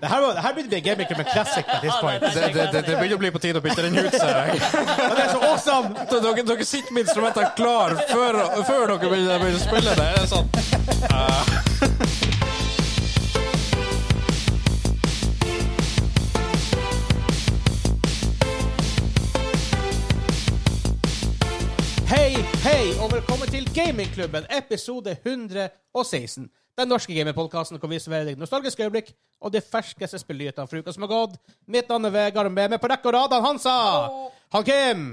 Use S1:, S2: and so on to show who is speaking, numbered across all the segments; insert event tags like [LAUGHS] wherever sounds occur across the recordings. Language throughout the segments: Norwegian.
S1: Det her, var, det her begynte å bli en gamingklubb med classic på this point.
S2: Det, det, det, det begynner å bli på tide å bytte den ut, ser [LAUGHS] jeg.
S1: Og det er så awesome!
S2: Dere, dere sitter med instrumentene klar før, før dere begynner begynner å spille det. det er sånn.
S1: Hei, hei, og velkommen til Gamingklubben, episode 116. Den norske gamingpodkasten hvor vi serverer deg nostalgiske øyeblikk og de ferskeste spillnyhetene fra uka som har gått. Mitt navn er Vegard, og med meg på rekke og rad han Hansa, han Kim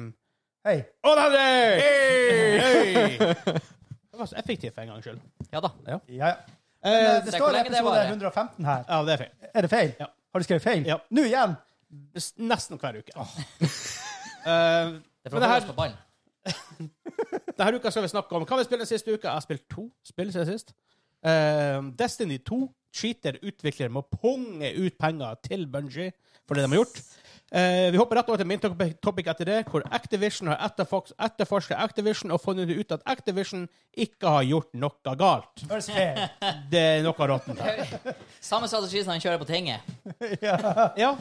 S3: Hei.
S1: og han Henrik. Hei. Det var så effektivt for en gangs skyld.
S4: Ja da.
S3: Ja, ja. Men,
S1: Eh,
S3: eh, det
S4: se hvor
S3: står
S4: lenge det
S3: episode
S4: varer.
S3: 115 her.
S1: ja, det er feil.
S3: Er det feil?
S1: Ja.
S3: Har du skrevet feil?
S1: Ja.
S3: Nå igjen?
S1: S- Nesten hver uke. Eh, men
S4: Det er for å
S1: det
S4: holde
S1: her,
S4: oss på ballen.
S1: Denne uka skal vi snakke om hva vi spiller den siste uka. Jeg har spilt to spill siden sist. Eh, Destiny 2. Cheater-utviklere må punge ut penger til Bungie for det de har gjort. Eh, vi hopper rett over til min top- topic etter det, hvor Activision har etterforsket etterforska Activision og funnet ut at Activision ikke har gjort noe galt.
S3: Høres feil.
S1: Det er noe råttent her.
S4: Samme strategi som han kjører på tinget.
S1: [LAUGHS] Ja.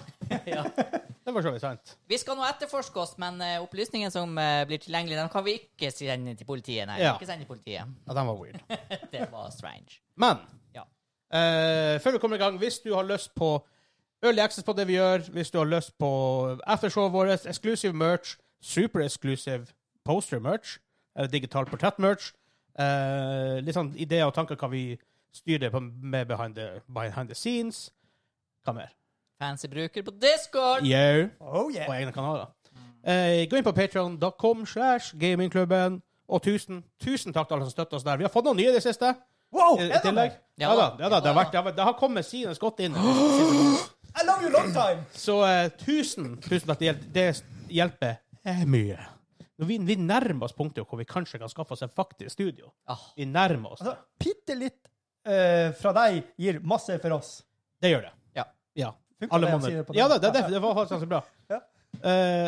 S1: Det var så vidt sant.
S4: Vi skal nå etterforske oss, men eh, opplysningene som eh, blir tilgjengelige, dem kan vi ikke sende til politiet. Nei,
S1: Ja.
S4: ikke sende til politiet. [LAUGHS]
S1: Ja, den var weird.
S4: Det var strange.
S1: Men
S4: Ja.
S1: Eh, før vi kommer i gang, hvis du har lyst på early access på det vi gjør, hvis du har lyst på aftershowet vårt, exclusive merch, super exclusive poster merch, eller digital portrett merch, eh, litt sånn ideer og tanker hva vi styrer på med behind the, behind the scenes, hva mer?
S4: Fancy bruker på Discord!
S1: Yo.
S3: Oh
S1: Og
S3: yeah.
S1: egne kanaler. Eh, gå inn på patreon.com slash gamingklubben, og tusen, tusen takk til alle som støtter oss der. Vi har fått noen nye i det siste.
S3: Wow!
S1: Eh, I
S3: er det
S1: tillegg.
S3: meg?
S4: Ja
S1: Ja da,
S4: da.
S1: ja da, det, har vært, det, har, vært- det har kommet siden skott
S4: [GASPS]
S1: inn.
S3: I love you long time!
S1: Så eh, tusen, tusen takk. Det, hjel- det hjelper eh, mye. Når vi, vi nærmer oss punktet hvor vi kanskje kan skaffe oss et faktisk studio.
S4: Ah,
S1: Vi nærmer oss.
S3: Altså, Bitte litt eh, fra deg gir masse for oss.
S1: Det gjør det.
S4: ja.
S1: Ja.
S3: Funker
S1: Alle
S3: det jeg
S1: måneder.
S3: sier på den?
S1: Ja, det, det, det, det var faktisk ganske bra.
S3: [LAUGHS] Ja.
S1: Eh,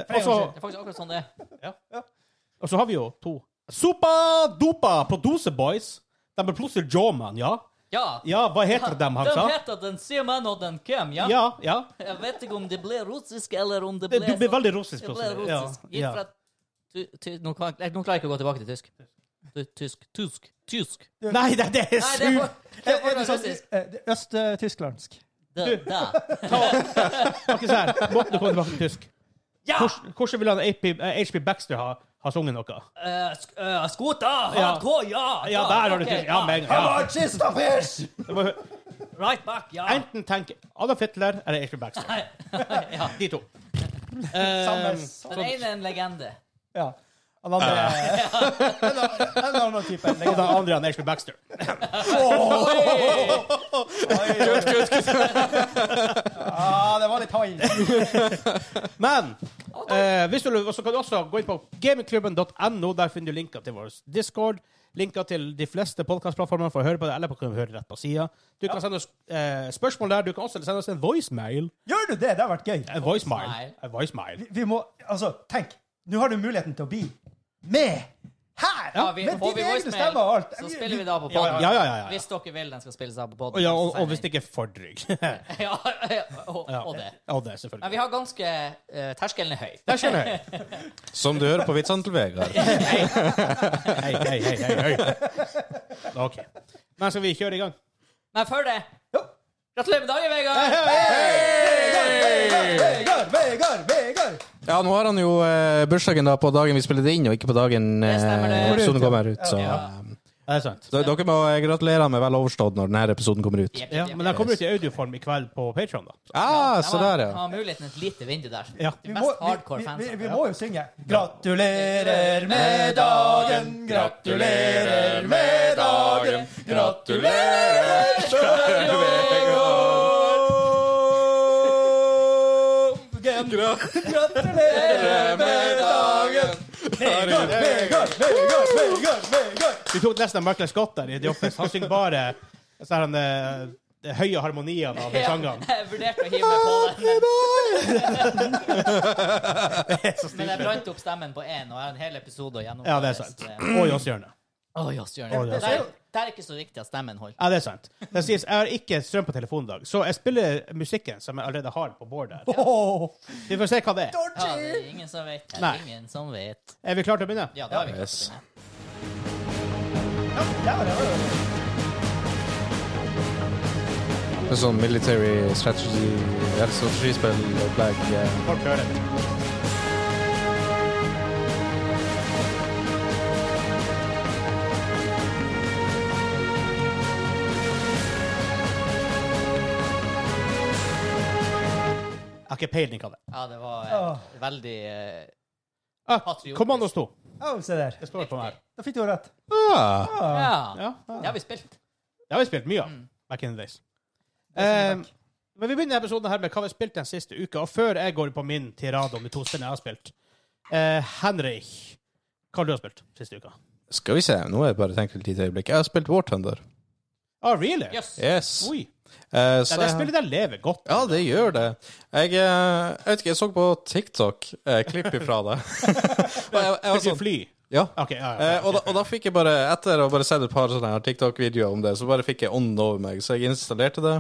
S3: For en
S1: og så-
S3: gangs
S4: Det er faktisk akkurat sånn det er.
S1: og så har vi jo to Sopa-dopa producer-boys. De er plutselig jawman, ja.
S4: Ja.
S1: Ja, hva heter
S4: [LAUGHS]
S1: de, han sa?
S4: De heter den Seaman og den Kim, ja.
S1: Ja, ja.
S4: Jeg vet ikke om det ble russisk, eller om det
S1: Det,
S4: ble
S1: du blir veldig russisk
S4: Det ble
S1: plutselig. Ja,
S4: russisk. Gitt
S1: ja.
S4: fra tu, tu, nå, kan, jeg- nå klarer jeg ikke å gå tilbake til tysk. Tu, tysk. Tysk. Tysk.
S1: Nei, det, det er
S4: Nei, det er
S1: sur.
S4: for, det er
S3: Er
S4: for
S3: det sånn,
S4: russisk.
S3: eh, det er Øst-tysklandsk.
S4: Det, det.
S1: Ikke så her. Måtte du komme tilbake til tysk. Hvordan, hvordan ville han AP, eh, HP Baxter ha, ha sunget noe?
S4: Eh, sk- eh, Skuta!
S1: Ja.
S4: Hardcore! Ja!
S1: Ja, der har du
S4: ok,
S1: tysk. Ja, men,
S3: Come
S1: ja.
S3: on, Christopher!
S1: Det var-
S4: Right back, ja.
S1: Enten tenk Adolf Hitler eller HP Baxter.
S4: ja.
S1: De to.
S3: Samme
S1: Um,
S3: sak.
S4: Den ene er en legende.
S3: Ja. [LAUGHS] Han hadde en, annen- en annen type.
S1: og den andre er HP Baxter.
S2: Kutt, kutt, kutt.
S3: Ah, det var litt high.
S1: Men eh, hvis du lurer, så kan du også gå inn på gamingklubben.no. Der finner du linker til vår Discord, linker til de fleste podkastplattformene for å høre på det, eller på, kan du høre rett på sida. Du kan sende oss eh, spørsmål der. Du kan også sende oss en voicemail.
S3: Gjør du det? Det har vært gøy.
S1: En voicemail.
S4: Voicemail.
S1: En voicemail.
S3: Vi- Vi må Altså, tenk. Nå har du muligheten til å bli med her!
S4: Ja, vi,
S3: med
S4: får vi
S3: dine egne
S4: voicemail,
S3: stemmer og alt.
S4: så spiller vi det av på
S1: Ja,
S4: podden.
S1: ja, ja, ja.
S4: Hvis dere vil den skal spilles av på
S1: Og,
S4: podden.
S1: ja, og,
S4: så
S1: og hvis
S4: sender
S1: det ikke er for drygg. [LAUGHS]
S4: vi- [LAUGHS] ja, og,
S1: Ja.
S4: og det.
S1: Og det,
S4: Men
S1: selvfølgelig.
S4: vi har ganske eh, Terskelen er høy.
S1: Der skjønner jeg.
S2: Som du hører på vitsene til Vegard.
S1: Hei, hei, hei, hei, hei. OK. Men skal vi kjøre i gang?
S4: Men før det Gratulerer med dagen, Vegard!
S3: Vegard, Vegard, Vegard!
S2: Ja, nå har han jo eh, bursdagen da på dagen vi spiller det inn, og ikke på dagen eh,
S4: Det stemmer, det.
S2: episoden kommer ut. Så,
S4: Ja.
S1: Ja, det er sant.
S2: så dere må eh, gratulere han med vel overstått når denne episoden kommer ut.
S4: Jepp,
S1: Ja,
S4: jepp, jepp.
S1: men den kommer ut i audioform i kveld på Patreon da.
S2: Ah,
S4: Det
S2: så
S4: var-
S2: der,
S4: det
S2: ja.
S4: var muligheten et lite vindu der.
S1: Ja.
S4: De
S3: Vi må,
S4: mest hardcore
S3: vi, vi,
S4: fansa.
S3: vi må jo synge. Gratulerer med dagen, gratulerer med dagen, gratulerer skjære Vegard! Gratulerer med dagen! Vegard, Vegard, Vegard, Vegard, Vegard!
S1: Vi tok nesten Michael Scott der i The Office. Han synger bare så er han, eh, de høye harmoniene av
S4: Ja,
S1: sangene.
S4: jeg vurderte å hive meg på den, men, men jeg brant opp stemmen på én, og jeg har en hel episode å gjennomføre.
S1: Ja, det er sant. Og i oss hjørnet.
S4: Å, ja, Stjørne.
S1: Å, ja,
S4: Der, Det er ikke så viktig at stemmen holder.
S1: Ja, det er sant. Det sies, jeg har ikke strøm på telefonen i dag, så jeg spiller musikken som jeg allerede har på bordet. her.
S3: Åh,
S1: Vi får se hva det er.
S4: Ja,
S3: dodgy!
S4: det er ingen som vet. Det
S1: Nei.
S4: er ingen som vet.
S1: Er vi klare til å begynne?
S4: Ja, da har vi klart å
S2: Yes.
S4: begynne.
S3: Ja, ja, ja, ja.
S2: Det er sånn military strategy altså, eller strategispill-opplegg. eh.
S1: Folk hører det. Jeg har ikke peiling på det.
S4: Ja, det var eh,
S3: Åh.
S4: veldig eh,
S1: Ah,
S4: Patriotisk.
S1: Kommandos 2.
S3: Å, se der.
S1: Det står på den Sånn her.
S3: Da fikk du jo rett.
S2: Ah,
S3: Ah.
S4: Ja.
S1: Ja, ja.
S4: Det har vi spilt.
S1: Det har vi spilt mye av back in the days. Eh, men vi begynner episoden her med hva vi har spilt den siste uka. Og før jeg går på min tirade om de to spillene jeg har spilt eh, Henrik, hva har du spilt siste uka?
S2: skal vi se, nå har jeg bare tenkt et lite øyeblikk. Jeg har spilt War Thunder.
S1: Ah, really?
S4: Jøss.
S2: Yes.
S1: Oi. Ja,
S2: Eh, så
S1: det
S2: jeg-
S1: spillet der lever godt.
S2: Ja, det gjør det. Jeg, eh, jeg vet ikke, jeg så på TikTok eh, klipp ifra
S1: [LAUGHS]
S2: det. og jeg, jeg var
S1: Skal vi
S2: sånn,
S1: fly?
S2: ja.
S1: OK. Ja, ja,
S2: Eh, og, da, og da fikk jeg bare, etter å ha bare sett et par sånne her TikTok-videoer om det, så bare fikk jeg ånden over meg. Så jeg installerte det,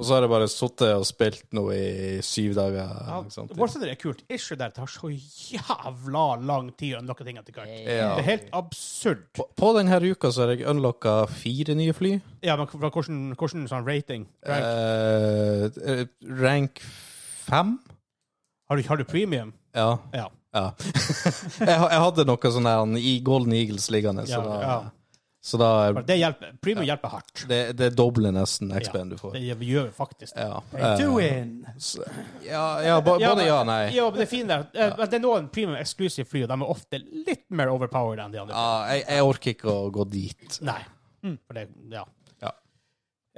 S2: og så har jeg bare sittet og spilt noe i syv dager.
S1: Ja,
S2: ikke sant?
S1: War Thunder er kult. Issue der tar så jævla lang tid å unlocke ting etter hvert. Det
S2: Ja.
S1: er helt absurd.
S2: På, på denne uka så har jeg unlocka fire nye fly.
S1: Ja, men fra hvordan, hvordan sånn rating?
S2: Eh.
S1: Rank.
S2: Rank, eh, rank fem?
S1: Har du, har du premium?
S2: Ja.
S1: Ja.
S2: ja. [LAUGHS] jeg, ha- jeg hadde noe sånn her i Golden Eagles liggende, så
S1: Ja,
S2: da,
S1: ja.
S2: Så da
S1: Det hjelper. Premium hjelper hardt.
S2: Det, det dobler nesten
S1: Ja,
S2: XP-en du får.
S1: Det gjør- gjør vi faktisk.
S2: Ja.
S3: Hey,
S2: Eh,
S3: do in.
S2: så- ja, ja, bo-
S1: Ja,
S2: både
S1: men-
S2: ja og nei.
S1: Ja, men det er fint der. Eh, men Det er noen premium exclusive fly, og de er ofte litt mer overpowered enn de andre.
S2: Ja, jeg, jeg orker ikke å gå dit.
S1: Nei. Mm, For det, ja.
S2: Ja.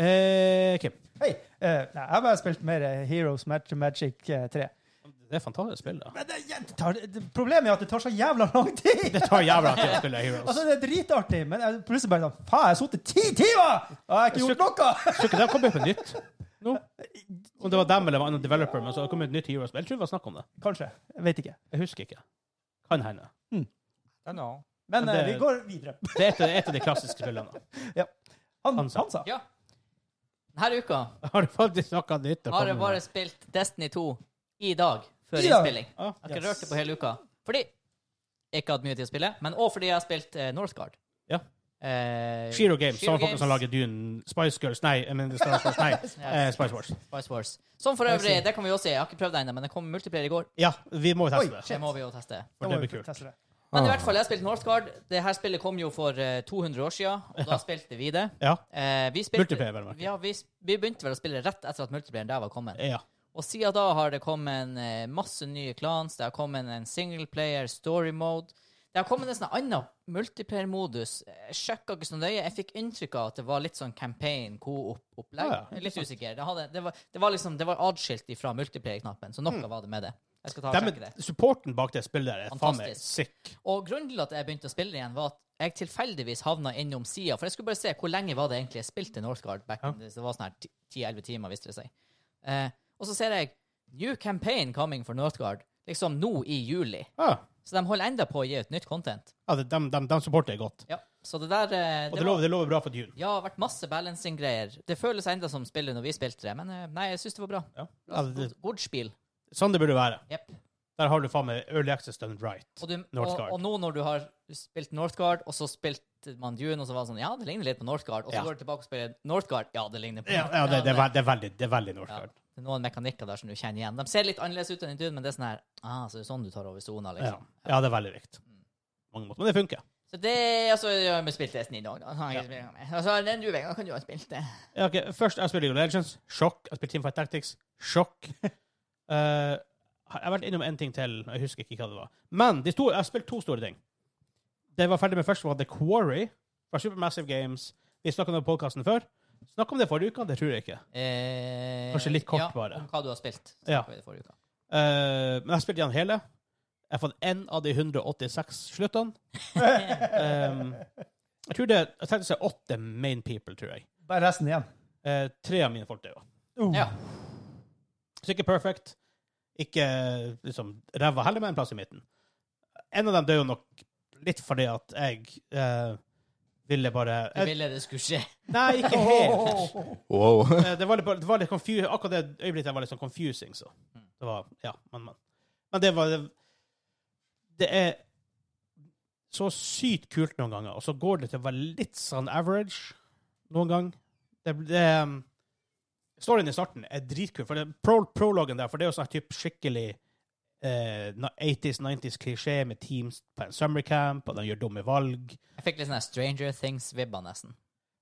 S1: Eh, Kim,
S3: Hei. eh, nei, jeg har bare spilt mer eh, Heroes Match Magic eh, 3.
S1: det er fantastisk spill, da.
S3: Men det, det tar, det, problemet er at det tar så jævla lang tid!
S1: Det tar jævla tid å spille Heroes.
S3: Altså, det er dritartig, men jeg plutselig bare sånn Faen, jeg har sittet ti timer! Og jeg har ikke gjort noe! [LAUGHS]
S1: Tror ikke det har kommet på nytt nå? Om det var dem eller en annen developer, men så har det kommet et nytt Heroes. Men jeg tror det var snakk om det.
S3: Kanskje. Jeg vet ikke.
S1: Jeg husker ikke. Kan hende.
S3: Men
S1: Men det-
S3: eh, vi går videre.
S1: Det er et, et av de klassiske spillene.
S3: Han,
S1: Hansa.
S3: Hansa.
S4: Ja. Denne uka
S1: Har du faktisk noe nytt å
S4: har
S1: komme
S4: jeg bare
S1: med?
S4: spilt Destiny 2 i dag, før
S3: I dag?
S4: innspilling. Jeg
S1: Ja.
S4: har ikke rørt det på hele uka. Fordi jeg ikke har hatt mye tid å spille, men òg fordi jeg har spilt eh, Northgard.
S1: Ja.
S4: Eh,
S1: Shiro Games,
S4: Shiro
S1: samme folk som
S4: Games.
S1: lager Dune, Spice Girls, nei, jeg mener Star Wars,
S4: [LAUGHS]
S1: nei, eh, Spice Wars.
S4: Spice Wars. Som for øvrig, det kan vi jo si, jeg har ikke prøvd det ennå, men det kom multiplayer i går.
S1: Ja, vi må jo
S3: Oi,
S1: teste det.
S4: Det må vi jo teste.
S1: For det
S3: Da må
S1: blir
S3: vi
S1: kult.
S3: teste det.
S1: Ah.
S4: Men i hvert fall, jeg har spilt Northgard. Det her spillet kom jo for eh, 200 år siden, og da spilte vi det.
S1: Ja.
S4: Eh, vi spilte,
S1: Multiplayer, vel å merke.
S4: Ja, vi, sp- vi begynte vel å spille rett etter at multiplayeren der var kommet.
S1: Ja.
S4: Og siden da har det kommet en, eh, masse nye clans, det har kommet en singleplayer, story mode. Det har kommet en sånn annen multiplayer-modus. Jeg sjekka ikke så nøye. Jeg fikk inntrykk av at det var litt sånn campaign, coop-opplegg.
S1: Ja, ja,
S4: Jeg er litt usikker. Det, hadde, det, var, det var liksom Det var adskilt ifra multiplayer-knappen, så noe var det med det. Jeg skal ta og
S1: Mm. Dem-
S4: sjekke det.
S1: supporten bak det spillet der er faen meg
S4: Fantastisk.
S1: sick.
S4: Og grunnen til at jeg begynte å spille igjen, var at jeg tilfeldigvis havna innom sida. For jeg skulle bare se hvor lenge var det egentlig jeg spilte Northgard. Back in the- Det var sånn her 10-11 timer, viste det seg. Eh, og så ser jeg New campaign coming for Northgard liksom nå i juli.
S1: Ja,
S4: Så de holder enda på å gi ut nytt content.
S1: ja det, dem, dem, dem supporter er godt.
S4: Ja, Så det der eh,
S1: Og det
S4: det var,
S1: lover, det lover bra for Dune.
S4: Ja, det har vært masse balancing-greier. Det føles enda som spillet når vi spilte det, men eh, nei, jeg syns det var bra.
S1: Ja. Ja, det,
S4: God spill.
S1: sånn det burde være.
S4: Jepp.
S1: Der har du faen meg early access done right.
S4: Og, du, og,
S1: Northgard.
S4: og nå når du har spilt Northgard, og så spilte man Dune, og så var det sånn Ja, det ligner litt på Northgard. Og så
S1: Ja.
S4: går du tilbake og spiller Northgard. Ja, det ligner på
S1: Ja, ja det, det, er, ve- det er veldig, det er veldig
S4: ja,
S1: Northgard.
S4: det er noen mekanikker der som du kjenner igjen. De ser litt annerledes ut enn i Dune, men det er sånn her ah, så det er sånn du tar over sona,
S1: Ja.
S4: liksom.
S1: ja, det er veldig likt. På Mange måter. Men det funker.
S4: Så det Altså, jeg har spilt Destiny i dag, da. Har jeg ikke spilt med. Altså, den du, Vegard, kan du ha spilt det.
S1: Ja, ok, Først jeg spiller League of Legends. Sjokk. Jeg spiller Teamfight Tactics.
S4: [LAUGHS]
S1: Sjokk. Eh, jeg har vært innom en ting til. Jeg husker ikke hva det var. Men de store, jeg har spilt to store ting. Det jeg var ferdig med først, var The Quarry fra Supermassive Games. Vi snakka om det på podkasten før. Snakka om det forrige uke, det tror jeg ikke.
S4: Eh,
S1: Kanskje litt kort,
S4: ja,
S1: bare.
S4: Om hva du har spilt.
S1: Ja.
S4: snakket vi det forrige uka.
S1: Eh, men jeg har spilt gjennom hele. Jeg har fått én av de 186 sluttene. Ehm, jeg tror det jeg tenkte å si åtte main people, tror jeg.
S3: Bare resten igjen.
S1: Eh, tre av mine folk døde.
S3: Uh.
S4: Ja.
S1: Så ikke perfect. Ikke liksom ræva heller, men en plass i midten. En av dem døde jo nok litt fordi at jeg eh, ville bare eh,
S4: Du ville det skulle skje.
S1: Nei, ikke
S3: [LAUGHS]
S1: helt.
S2: Wow. [LAUGHS]
S1: Eh, det var litt, det var litt confu- Akkurat det øyeblikket var litt sånn confusing, så. Det var, ja, men, men. men det var Det er så sykt kult noen ganger, og så går det til å være litt sånn average noen gang. Det, det um, Storyen i starten er dritkul, for det, pro, prologen der, for det er jo sånn typ skikkelig eh, 80s, 90s klisjé med teams på en summercamp, og de gjør dumme valg.
S4: Jeg fikk litt sånn her Stranger Things-vibber, nesten.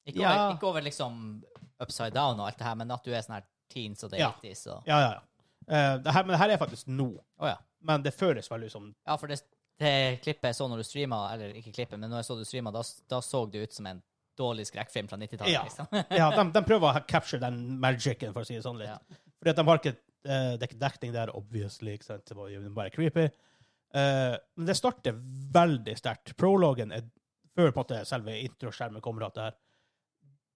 S4: Ikke,
S1: Ja.
S4: over, ikke over liksom upside down og alt det her, men at du er sånn her teens og
S1: Ja.
S4: daties og
S1: Ja, ja, ja. Eh, det her, men det her er faktisk nå,
S4: Å ja.
S1: men det føles veldig som
S4: Ja, for det, det klippet jeg så når du streama, eller ikke klippet, men når jeg så du streama, da, da så det ut som en dårlig skrekkfilm fra 90-tallet,
S1: Ja.
S4: liksom. [LAUGHS]
S1: ja, de, de prøver å capture den magicen, for å si det sånn litt.
S4: Ja.
S1: Fordi at de har ikke eh, det er ikke dekning der, obviously. Ikke sant? Det var jo bare creepy. Eh, men det starter veldig sterkt. Prologen er før på en måte selve introskjermen kommer av det her.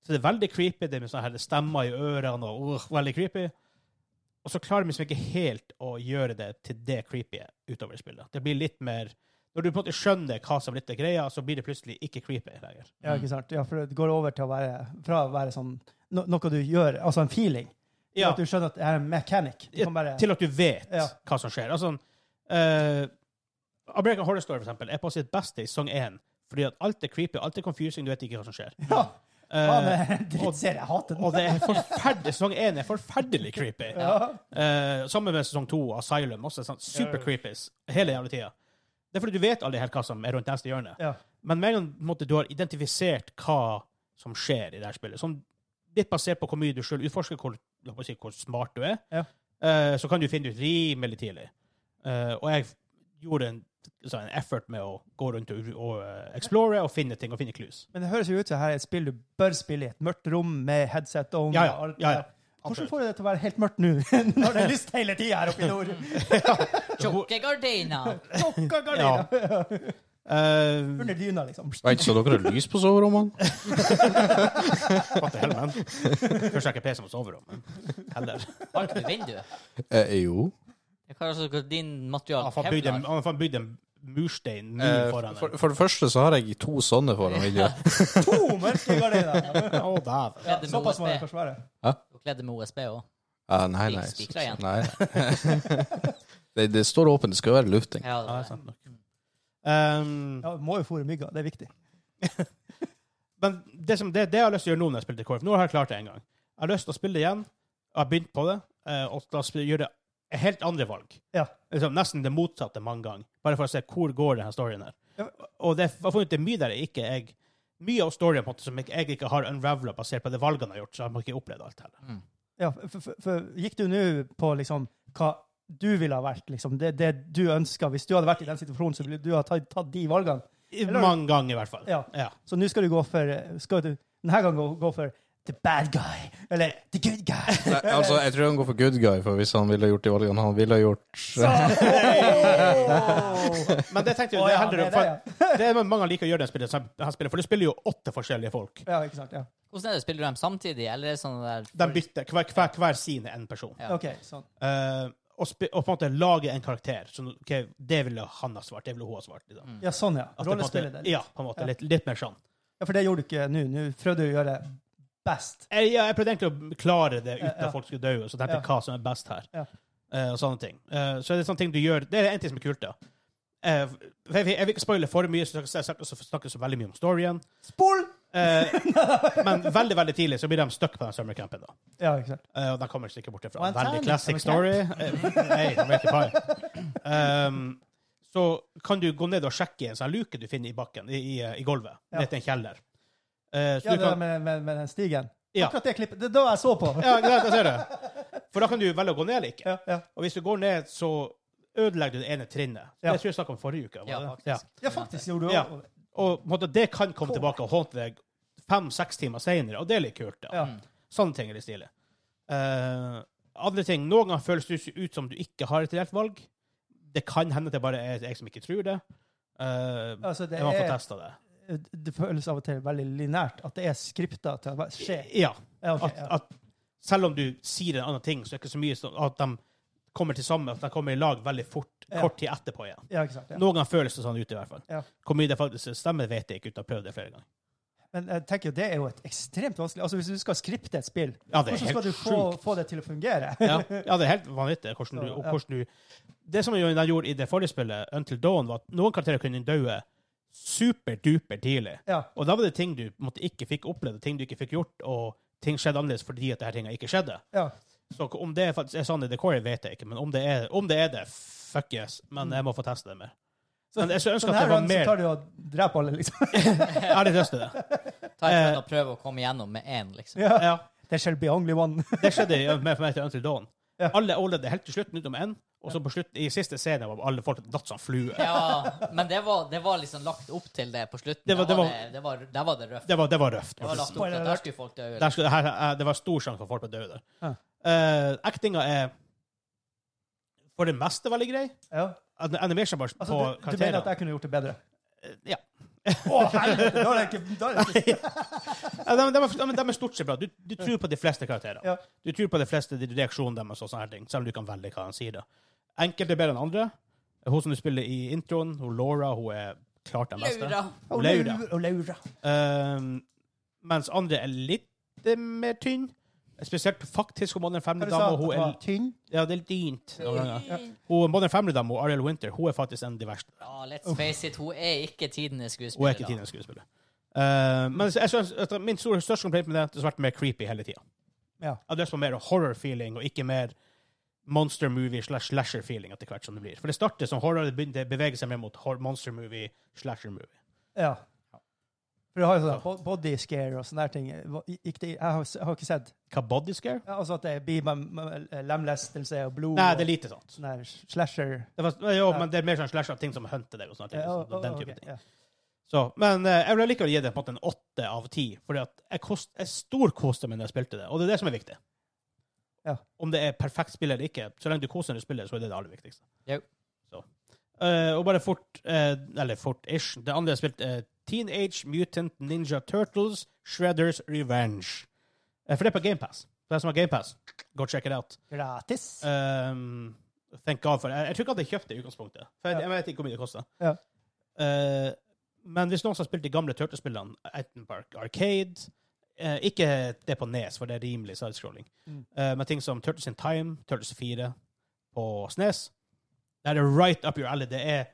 S1: Så det er veldig creepy. Det er med sånne her stemmer i ørene og uh, veldig creepy. Og så klarer de liksom ikke helt å gjøre det til det creepy utover i spillet. Det blir litt mer Når du på en måte skjønner hva som er litt er greia, så blir det plutselig ikke creepy lenger.
S3: Ja, ikke sant? Ja, for det går over til å være fra å være sånn no, noe du gjør, altså en feeling, til
S1: Ja.
S3: at du skjønner at det er en mechanic. Du
S1: Ja,
S3: kan bare
S1: til at du vet
S3: Ja.
S1: hva som skjer. Altså, eh, American Horror Story for eksempel, er på sitt beste i sesong 1, fordi at alt er creepy, alt er confusing, du vet ikke hva som
S3: [LAUGHS]
S1: skjer.
S3: Ja!
S1: Eh,
S3: Faen, det er en drittserie. Jeg hater
S1: og
S3: den.
S1: det er forferdelig, sesong 1 er forferdelig creepy. Eh, sammen med sesong 2, Asylum, også sånn super creepies, hele jævla tida. Det er fordi du vet aldri helt hva som er rundt neste hjørne.
S3: Ja.
S1: Men med en gang på en måte, du har identifisert hva som skjer i det her spillet, som litt basert på hvor mye du selv utforsker, hvor, la meg si, hvor smart du er,
S3: Ja.
S1: eh, så kan du finne ut rimelig tidlig. Eh, og jeg gjorde en, altså en effort med å gå rundt og, og eh, explore og finne ting og finne clues.
S3: Men det høres jo ut som her er et spill du bør spille i et mørkt rom med headset on.
S1: Ja, ja.
S3: og alt det
S1: Ja, ja.
S3: der. Hvordan får du det til å være helt mørkt nå, [LAUGHS] når det er lyst hele tida her oppe i nord?
S4: Tjukke gardiner!
S3: Lukka gardiner.
S1: Eh,
S3: [LAUGHS] Under dyna, liksom.
S2: Vent, så dere har lys på soverommene?
S1: What the hell, man? Først sjekke PC-en på soverommet. Heller.
S4: Har ikke du vindu?
S2: Eh, jo.
S4: Jeg har altså din material
S1: Han får bygd en, han får bygd en murstein mur
S2: Eh,
S1: foran
S2: for,
S1: den.
S2: for det første så har jeg to sånne foran vinduet.
S3: To mørke gardiner.
S1: Å, dæven.
S4: Kledde med
S3: Såpass må det
S4: OSB.
S3: forsvare.
S4: Du kledde med OSB òg.
S2: Ah, nei, nei.
S4: Spikra igjen.
S2: nei. [LAUGHS] det, det står åpent, det skal jo være lufting.
S4: Ja,
S1: Ja, det er
S4: det var det.
S1: sant sånn nok. Um,
S3: Ja, må jo fôre mygga. Det er viktig.
S1: Men det, som, det, det jeg har lyst til å gjøre nå når jeg spiller til KrF Nå har jeg klart det en gang. Jeg har lyst til å spille det igjen. Jeg har begynt på det. eh, Og da spille- gjøre helt andre valg.
S3: Ja.
S1: Liksom, nesten det motsatte mange ganger. Bare for å se hvor går denne storyen her.
S3: Ja.
S1: Og det, jeg har funnet ut det er mye der jeg ikke jeg Mye av storyen på en måte, som jeg, jeg ikke har unravela basert på det valgene jeg har gjort. Så jeg har ikke opplevd alt heller.
S3: Ja, for, for, for gikk du nå på liksom hva du ville ha vært, liksom? Det, det du ønsker. Hvis du hadde vært i den situasjonen, så ville du ha tatt, tatt de valgene.
S1: I-
S3: Eller-
S1: mange ganger, i hvert fall.
S3: Ja. Så nå skal du gå for Skal du denne gangen gå, gå for the bad guy. Eller the good guy.
S2: Nei, altså, jeg tror han går for good guy, for hvis han ville gjort de valgene han ville gjort
S1: Men det tenkte jeg
S3: [LAUGHS] Å,
S1: det
S3: ja, [LAUGHS]
S1: handler om,
S3: det er det,
S1: for, det er mange liker å gjøre det spillet, som han spiller, for du spiller jo åtte forskjellige folk.
S3: [LAUGHS] Ja, ikke sant? Ja.
S4: Hvordan er det? Spiller du dem samtidig, eller er det sånn der
S1: De bytter hver, hver, hver sin er en person.
S4: Ja.
S3: OK, sånn.
S1: Eh, og, spi- og på en måte lage en karakter. Så, ok, det ville han ha svart, det ville hun ha svart. Liksom.
S3: Ja, sånn, ja.
S1: At det på en måte-
S3: Rollespillet der.
S1: Ja, på en måte. Litt, litt mer sånn.
S3: Ja, for det gjorde du ikke nå. Nå prøvde du å gjøre best.
S1: Jeg, Eh, ja, jeg prøvde egentlig å klare det uten
S3: Ja, ja.
S1: at folk skulle dø, så tenkte jeg hva som er best her.
S3: Ja.
S1: Eh, og sånne ting. Eh, så er det sånne ting du gjør Det er en ting som er kult, da. Eh, for jeg, jeg vil ikke spoile for mye, så jeg snakker så, snakker så veldig mye om storyen.
S3: Spol!
S1: Eh,
S3: [LAUGHS]
S1: men veldig veldig tidlig så blir de stuck på den summercampen. da.
S3: Ja, ikke sant.
S1: Eh, og de kommer sikkert bort
S3: Og
S1: ifra.
S3: en
S1: Veldig
S3: terning
S1: classic
S3: som
S1: story. Eh, Nei, American Pie. Ehm, så kan du gå ned og sjekke i en sånn luke du finner i bakken, i, i, i gulvet,
S3: Ja.
S1: ned til en kjeller. Eh, så ja,
S3: Ja, det
S1: du
S3: der
S1: kan,
S3: med, med, med den stigen.
S1: Ja.
S3: Akkurat det klippet. Det er da jeg så på.
S1: ja, greit, jeg ser det. For da kan du velge å gå ned eller ikke.
S3: Ja, ja.
S1: Og hvis du går ned, så ødelegger du det ene trinnet.
S3: Ja.
S1: Det tror jeg vi snakket om forrige uke. var
S4: Ja,
S1: det?
S4: faktisk.
S3: ja faktisk gjorde du
S1: Ja.
S3: også.
S1: Og på en måte, det kan komme tilbake og håndte deg fem-seks timer senere, og det er litt kult. da.
S3: Ja.
S1: Sånne ting er litt stilig. Eh, andre ting, Noen ganger føles det ut som du ikke har et reelt valg. Det kan hende det bare er jeg som ikke tror det. Eh,
S3: Altså, det
S1: jeg må få
S3: er-
S1: testa det.
S3: Det føles av og til veldig linært at det er skripta til å skje.
S1: Ja.
S3: Ja, ok,
S1: at,
S3: ja.
S1: at selv om du sier en annen ting, så er det ikke så mye som at de kommer til sammen, at de kommer i lag veldig fort,
S3: Ja.
S1: kort tid etterpå igjen.
S3: Ja, ikke sant. Ja.
S1: Noen ganger føles det sånn ut, i hvert fall.
S3: Ja.
S1: Hvor mye det faktisk stemmer, vet jeg ikke, uten å ha prøvd det flere ganger.
S3: Men jeg tenker jo, det er jo et ekstremt vanskelig Altså, Hvis du skal skripte et spill,
S1: Ja, det er
S3: hvordan skal
S1: helt
S3: du få,
S1: sjukt.
S3: få det til å fungere?
S1: [LAUGHS] Ja, ja, det er helt vanvittig hvordan du,
S3: Så,
S1: og
S3: ja.
S1: hvordan du Det som jo de gjorde i det forrige spillet, Until Dawn, var at noen karakterer kunne daue superduper tidlig.
S3: Ja.
S1: Og da var det ting du på en måte, ikke fikk opplevd, ting du ikke fikk gjort, og ting skjedde annerledes fordi at det her tinga ikke skjedde.
S3: ja.
S1: Så om det er faktisk er sånn i The Quarry, vet jeg ikke, men om det er om det, er det fuck yes. Men jeg må få teste det mer. Men jeg skulle
S3: Så
S1: ønske at
S3: denne
S1: det var
S3: gangen så
S1: mer
S3: tar du og dreper alle, liksom.
S1: Jeg har litt lyst til det.
S4: Ta et
S1: Eh.
S4: run og prøve å komme igjennom med én, liksom.
S3: [LAUGHS] Ja.
S1: [LAUGHS] Ja,
S3: Det shall be only one. [LAUGHS]
S1: det skjedde i- med for meg til Until Dawn.
S3: Ja.
S1: Alle overlevde helt til slutten, utenom én. Og så på slutten, i siste scene var alle folk datt som fluer.
S4: Ja, men det var, det var liksom lagt opp til det på slutten.
S1: Det var-
S4: Der
S1: det var-
S4: var det, det, var, der var det røft.
S1: Det var, det var røft.
S4: Det var lagt opp til at der skulle folk dø.
S1: Der skulle, her, her, det var stor sjanse for folk å dø der.
S3: Ja.
S1: Eh, Actinga er for det meste veldig grei.
S3: Ja.
S1: An- Animation bare
S3: Altså,
S1: på
S3: du, du mener at
S1: karakterene.
S3: jeg kunne gjort det bedre?
S1: Ja.
S3: Å, helvete! Da er det ikke, da er det ikke.
S1: Ja, de, de, er- ja, men de er stort sett bra. Du, du tror på de fleste karakterene.
S3: Ja.
S1: Du tror på de fleste de reaksjonene deres, og sånne her ting, selv om du kan velge hva han sier. da. Enkelte er bedre enn andre. Hun som du spiller i introen, hun Laura, hun er klart den beste.
S4: Laura.
S1: Hun Laura.
S3: Og Laura.
S1: Eh, mens andre er litt mer tynn. Spesielt faktisk hun Modern
S3: Hva du sa
S1: Family-dama.
S3: du?
S1: Hun
S3: At det
S1: er
S3: var tynn?
S1: Ja, det er litt dynt. noen ganger. Hun, Modern Family-dama, Ariel Winter, hun er faktisk en av de verste.
S4: Ja, let's face it, hun er ikke tidenes
S1: Hun
S4: skuespiller.
S1: er ikke tidenes skuespiller. Eh, men jeg synes at min store, største kompliment med det er at det har vært mer creepy hele tida.
S3: Ja.
S1: Jeg har lyst på mer horror-feeling, og ikke mer monster movie slash slasher-feeling etter hvert som det blir. For det starter som horror, det begynner å bevege seg mer mot hor- monster movie, slasher movie.
S3: Ja. For du har jo sånn bo- body scare og sånne der ting. Hva- Gikk det, i- jeg, har, jeg har ikke sett.
S1: Hva body scare?
S3: Ja, altså at det blir med- med- med lemlestelse og blod
S1: Nei, det er
S3: og
S1: lite sånt.
S3: sånne der slasher.
S1: Det var, jo, men det er mer sånn slasher-ting som hunter deg og sånne ting.
S3: Ja,
S1: sånn- den
S3: ok,
S1: type ting.
S3: ja.
S1: Så, men eh, jeg vil likevel gi det på en måte en åtte av ti, fordi at jeg, kost, jeg storkoste meg når jeg spilte det, og det er det som er viktig.
S3: Ja.
S1: Om det er perfekt spill eller ikke, så lenge du koser deg når du spiller, så er det det aller viktigste.
S4: Jo.
S1: Så. Eh, og bare fort, eh, eller fort-ish, det andre jeg spilte, eh, Teenage Mutant Ninja Turtles Shredders Revenge. Eh, for det er på GamePass. Det som har GamePass, go check it out.
S3: Gratis.
S1: Um, thank God for det. Jeg, jeg tror ikke at jeg kjøpte det i utgangspunktet. For jeg,
S3: Ja.
S1: jeg vet ikke hvor mye det kosta.
S3: Ja.
S1: men hvis noen som har spilt de gamle Turtles-spillene, Attenbark Arcade eh, Ikke det på Nes, for det er rimelig sidescrolling,
S3: Mm.
S1: Eh, men ting som Turtles in Time, Turtles 4 på Snes Det er right up your alley. Det er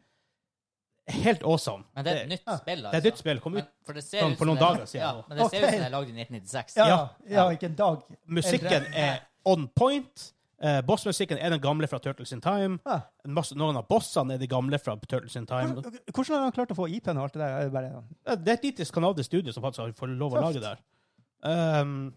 S1: helt awesome.
S4: Men det er et nytt
S3: Ja.
S4: spill, altså.
S1: det er et nytt spill. Kom
S4: Men-
S1: ut
S4: for det
S1: for-
S4: ser ut
S1: for
S4: som
S1: noen
S4: det-
S1: dager siden.
S4: Ja, men det ser ut
S3: Ok.
S4: som det er lagd i 1996.
S3: ja,
S1: ja.
S3: ja, ikke en dag.
S1: Musikken er on point. Eh, bossmusikken er den gamle fra Turtles in Time.
S3: Ja.
S1: En masse, noen av bossene er de gamle fra Turtles in Time.
S3: Hvordan hvordan har han klart å få IP-en og alt det der? Er det bare
S1: Ja, Det er et lite kanadisk studio som faktisk har fått lov å
S3: Tøft.
S1: lage det her. Um,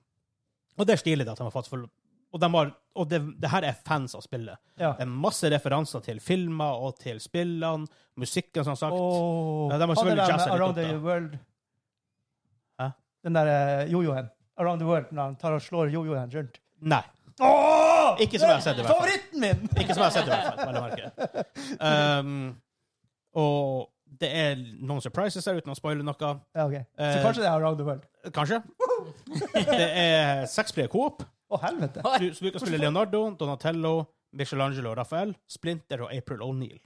S1: og det er stilig at de har faktisk fått Og, de har, og det, det her er fans av spillet.
S3: Ja.
S1: Det er masse referanser til filmer og til spillene, musikken, som sagt.
S3: Oh,
S1: Ja, de har selvfølgelig jazza litt opp,
S3: Around
S1: da.
S3: the World.
S1: Hæ?
S3: Den der eh, jojoen. Around the World, når han tar og slår jojoen rundt.
S1: Nei.
S3: Åh!
S1: Ikke som jeg har sett, i hvert fall.
S3: Favoritten min!
S1: Ikke som jeg har sett, i hvert fall. vel å merke. Um, og det er noen surprises der, uten å spoile noe.
S3: Ja, ok. Så
S1: Eh,
S3: kanskje det er Around the World.
S1: Kanskje. Det er seksplayer coop.
S3: Å, helvete.
S1: Du, så du kan spille Leonardo, Donatello, Michelangelo og Raphael, Splinter og April O'Neill.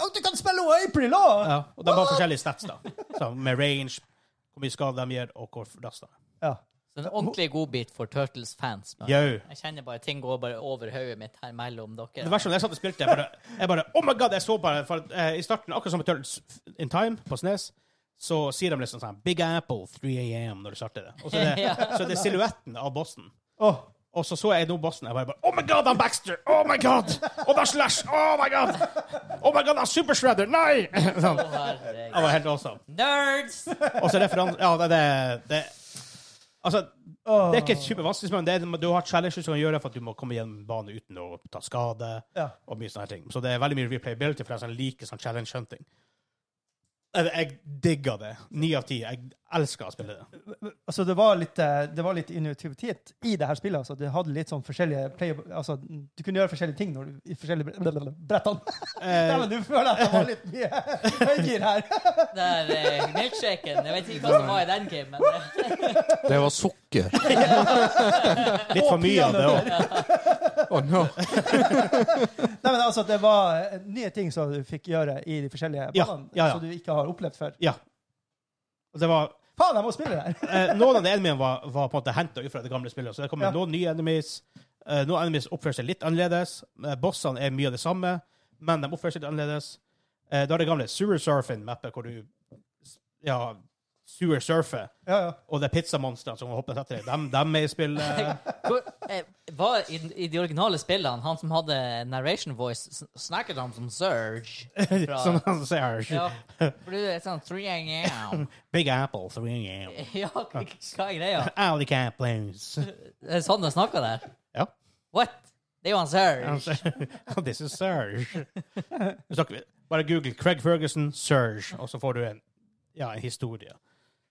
S3: Å, du kan spille April òg!
S1: Ja, og de har forskjellige stats, da. Så med range, hvor mye skade de gjør, og hvor raskt de er.
S3: Ja.
S4: Så en ordentlig godbit for Turtles-fans. men
S1: Yo.
S4: Jeg kjenner bare ting går bare over hodet mitt her mellom dere.
S1: Det verste når jeg satt og spilte, jeg bare, jeg bare Oh my god! Jeg så bare for, eh, I starten, akkurat som i Turtles in Time på Snes, så sier de liksom sånn Big Apple 3 AM når du starter det. Og så er det, så er det silhuetten av bossen.
S3: Åh,
S1: Og så så jeg nå bossen. Jeg bare, bare Oh my god, han Baxter! Oh my god! Og da Slash! Oh my god! Oh my god, han Super Shredder! Nei! [LAUGHS] Sånn.
S4: Å, herregud.
S1: Det var helt awesome.
S4: Nerds!
S1: Og så referanse Ja, det, det, det Altså, det er ikke supervanskelig, men det er, du har challenges som kan gjøre for at du må komme gjennom banen uten å ta skade.
S3: Ja.
S1: Og mye sånne her ting. Så det er veldig mye replayability for dem som liker sånn challenge hunting. Jeg, jeg digger det. Ni av ti. Jeg elsker å spille det.
S3: Altså, det var litt, eh, det var litt innovativitet i det her spillet. Altså, det hadde litt sånn forskjellige play... Altså, du kunne gjøre forskjellige ting når du, i forskjellige bre- brettene.
S1: Eh,
S3: Nei, men du føler at det var litt mye [LAUGHS] høygir her.
S4: Der eh, milkshaken. Jeg vet ikke hva som var i den gamen. men-
S2: Det var sukker.
S1: Eh, litt for mye av det òg.
S2: Oh, no.
S3: Nei, men altså, det var eh, nye ting som du fikk gjøre i de forskjellige
S1: Ja,
S3: banene,
S1: ja, ja.
S3: som du ikke har opplevd før.
S1: Ja. Og det var
S3: Faen, jeg må spille det her! [LAUGHS]
S1: Eh, noen av de enemiene var, var på en måte henta fra det gamle spillet. Så det kommer
S3: Ja.
S1: noen nye enemies. Eh, noen enemies oppfører seg litt annerledes. Eh, bossene er mye av det samme, men de oppfører seg litt annerledes. Eh, da er det gamle Sewer Surfing-mappet, hvor du ja, sewer surfer.
S3: Ja, ja.
S1: Og det er pizzamonstrene som hopper etter deg. Dem, dem er i spillet.
S4: Hvor, eh, var i, I de originale spillene, han som hadde narration voice, sn- snakket han som Surge.
S1: [LAUGHS]
S4: Fra,
S1: som Sånn han sier.
S4: ja, for du er sånn 3 a.m.
S1: Big Apple, 3 a.m.
S4: [LAUGHS] Ja, hva hva er greia?
S1: Alley Camp Blues.
S4: Det er sånn det snakker der.
S1: Ja.
S4: What? Det er jo han Surge.
S1: Altså, [LAUGHS] This is Surge. Så snakker vi- Bare google Craig Ferguson, Surge, og så får du en, ja, en historie.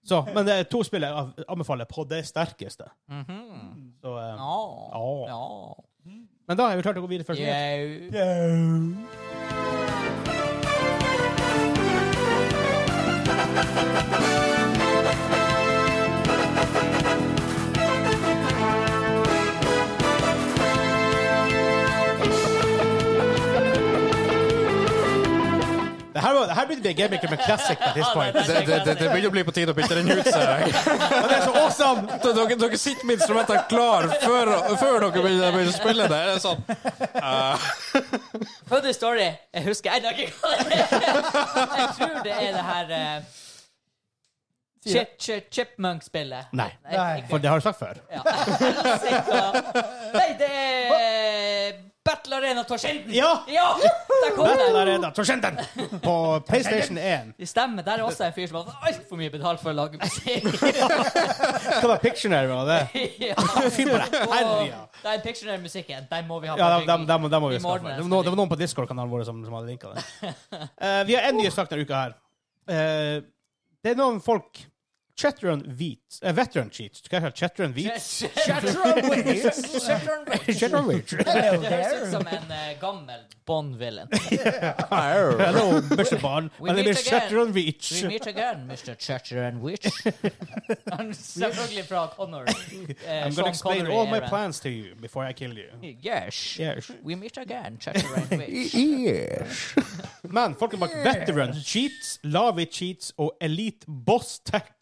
S1: Så, men det er to spill jeg av- anbefaler på det sterkeste. Så, eh,
S4: Ja. Ah, Ja.
S1: Men da er vi klare til å gå videre. Først.
S4: Jau.
S1: Det her, var- det her begynte å bli en gaming med classic på this point.
S2: Det, det, det, det begynner å bli på tide å bytte den ut, ser jeg.
S1: Men det er så awesome!
S2: [LAUGHS] Dere, dere sitter med instrumentene klar før, før dere begynner begynner å spille det. Det er sånn
S4: Funny story. Jeg husker ennå ikke hva det er. Jeg tror det er det her eh,
S3: Sier
S4: chip, chip, Chipmunk-spillet.
S1: Nei,
S3: Nei.
S1: for det har jeg sagt før.
S4: Ja. Helsike. Nei, det er Battle Arena Torskjelden.
S1: Ja.
S4: ja! Der kom
S1: Battle
S4: det.
S1: Arena Torskjenden på PlayStation 1.
S4: Det stemmer. Der er også en fyr som har fått altfor mye betalt for å
S1: [LAUGHS]
S4: lage musikk.
S1: Hva var Pictionary av det?
S4: ja.
S1: Fy på deg. Herre, ja.
S4: Og Den Pictionary-musikken, den må vi ha på
S1: Ja, dem,
S4: ryggen.
S1: dem, dem, dem må vi
S4: Vi
S1: skaffe.
S4: må ordne
S1: Det
S4: det.
S1: var, noen, det var noen på Discord-kanalen vår som, som hadde linka
S4: [LAUGHS]
S1: det. Eh, vi har en ny sak denne uka her. Eh, det er noen folk Chatteron Wheat eh, Veteran Cheats. Hva heter det? Chatteron Wheat?
S4: Shetron
S1: Chatteron Wheat.
S4: Det høres ut som en eh, gammel Bond-villain.
S1: Hello, bøssebarn.
S4: We
S1: Men det
S4: meet
S1: blir
S4: again.
S1: Chatteron Wheat.
S4: We meet again, Mr. Chatteron Witch.
S1: [LAUGHS]
S4: Han er Selvfølgelig fra Connor. eh,
S1: I'm
S4: Sean
S1: gonna explain
S4: Connery
S1: all my
S4: eraen.
S1: plans to you before I kill you.
S4: Yes.
S1: Yes.
S4: We meet again, [LAUGHS] Chatteron Witch.
S1: Men folkene bak Veteran Cheats, Lavi Cheats og Elite Boss Tech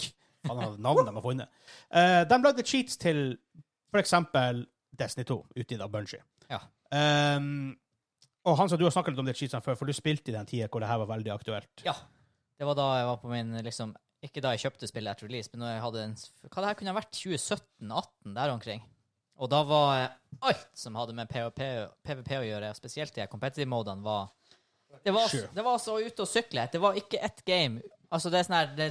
S1: Faen, det er navnet de har funnet. Eh, de lagde cheats til for eksempel Destiny 2, utgitt av Bungie.
S4: Ja.
S1: Ehm, og Hans, og du har snakket litt om de cheatsene før, for du spilte i den tida hvor det her var veldig aktuelt.
S4: Ja. Det var da jeg var på min liksom, Ikke da jeg kjøpte spillet etter release, men da jeg hadde en Hva det her kunne ha vært? 2017-18? Der omkring. Og da var eh, alt som hadde med PvP, PvP å gjøre, spesielt de her competitive modene, var det var,
S1: Sure.
S4: det var så ute å sykle. Det var ikke ett game Altså, det er sånn her det,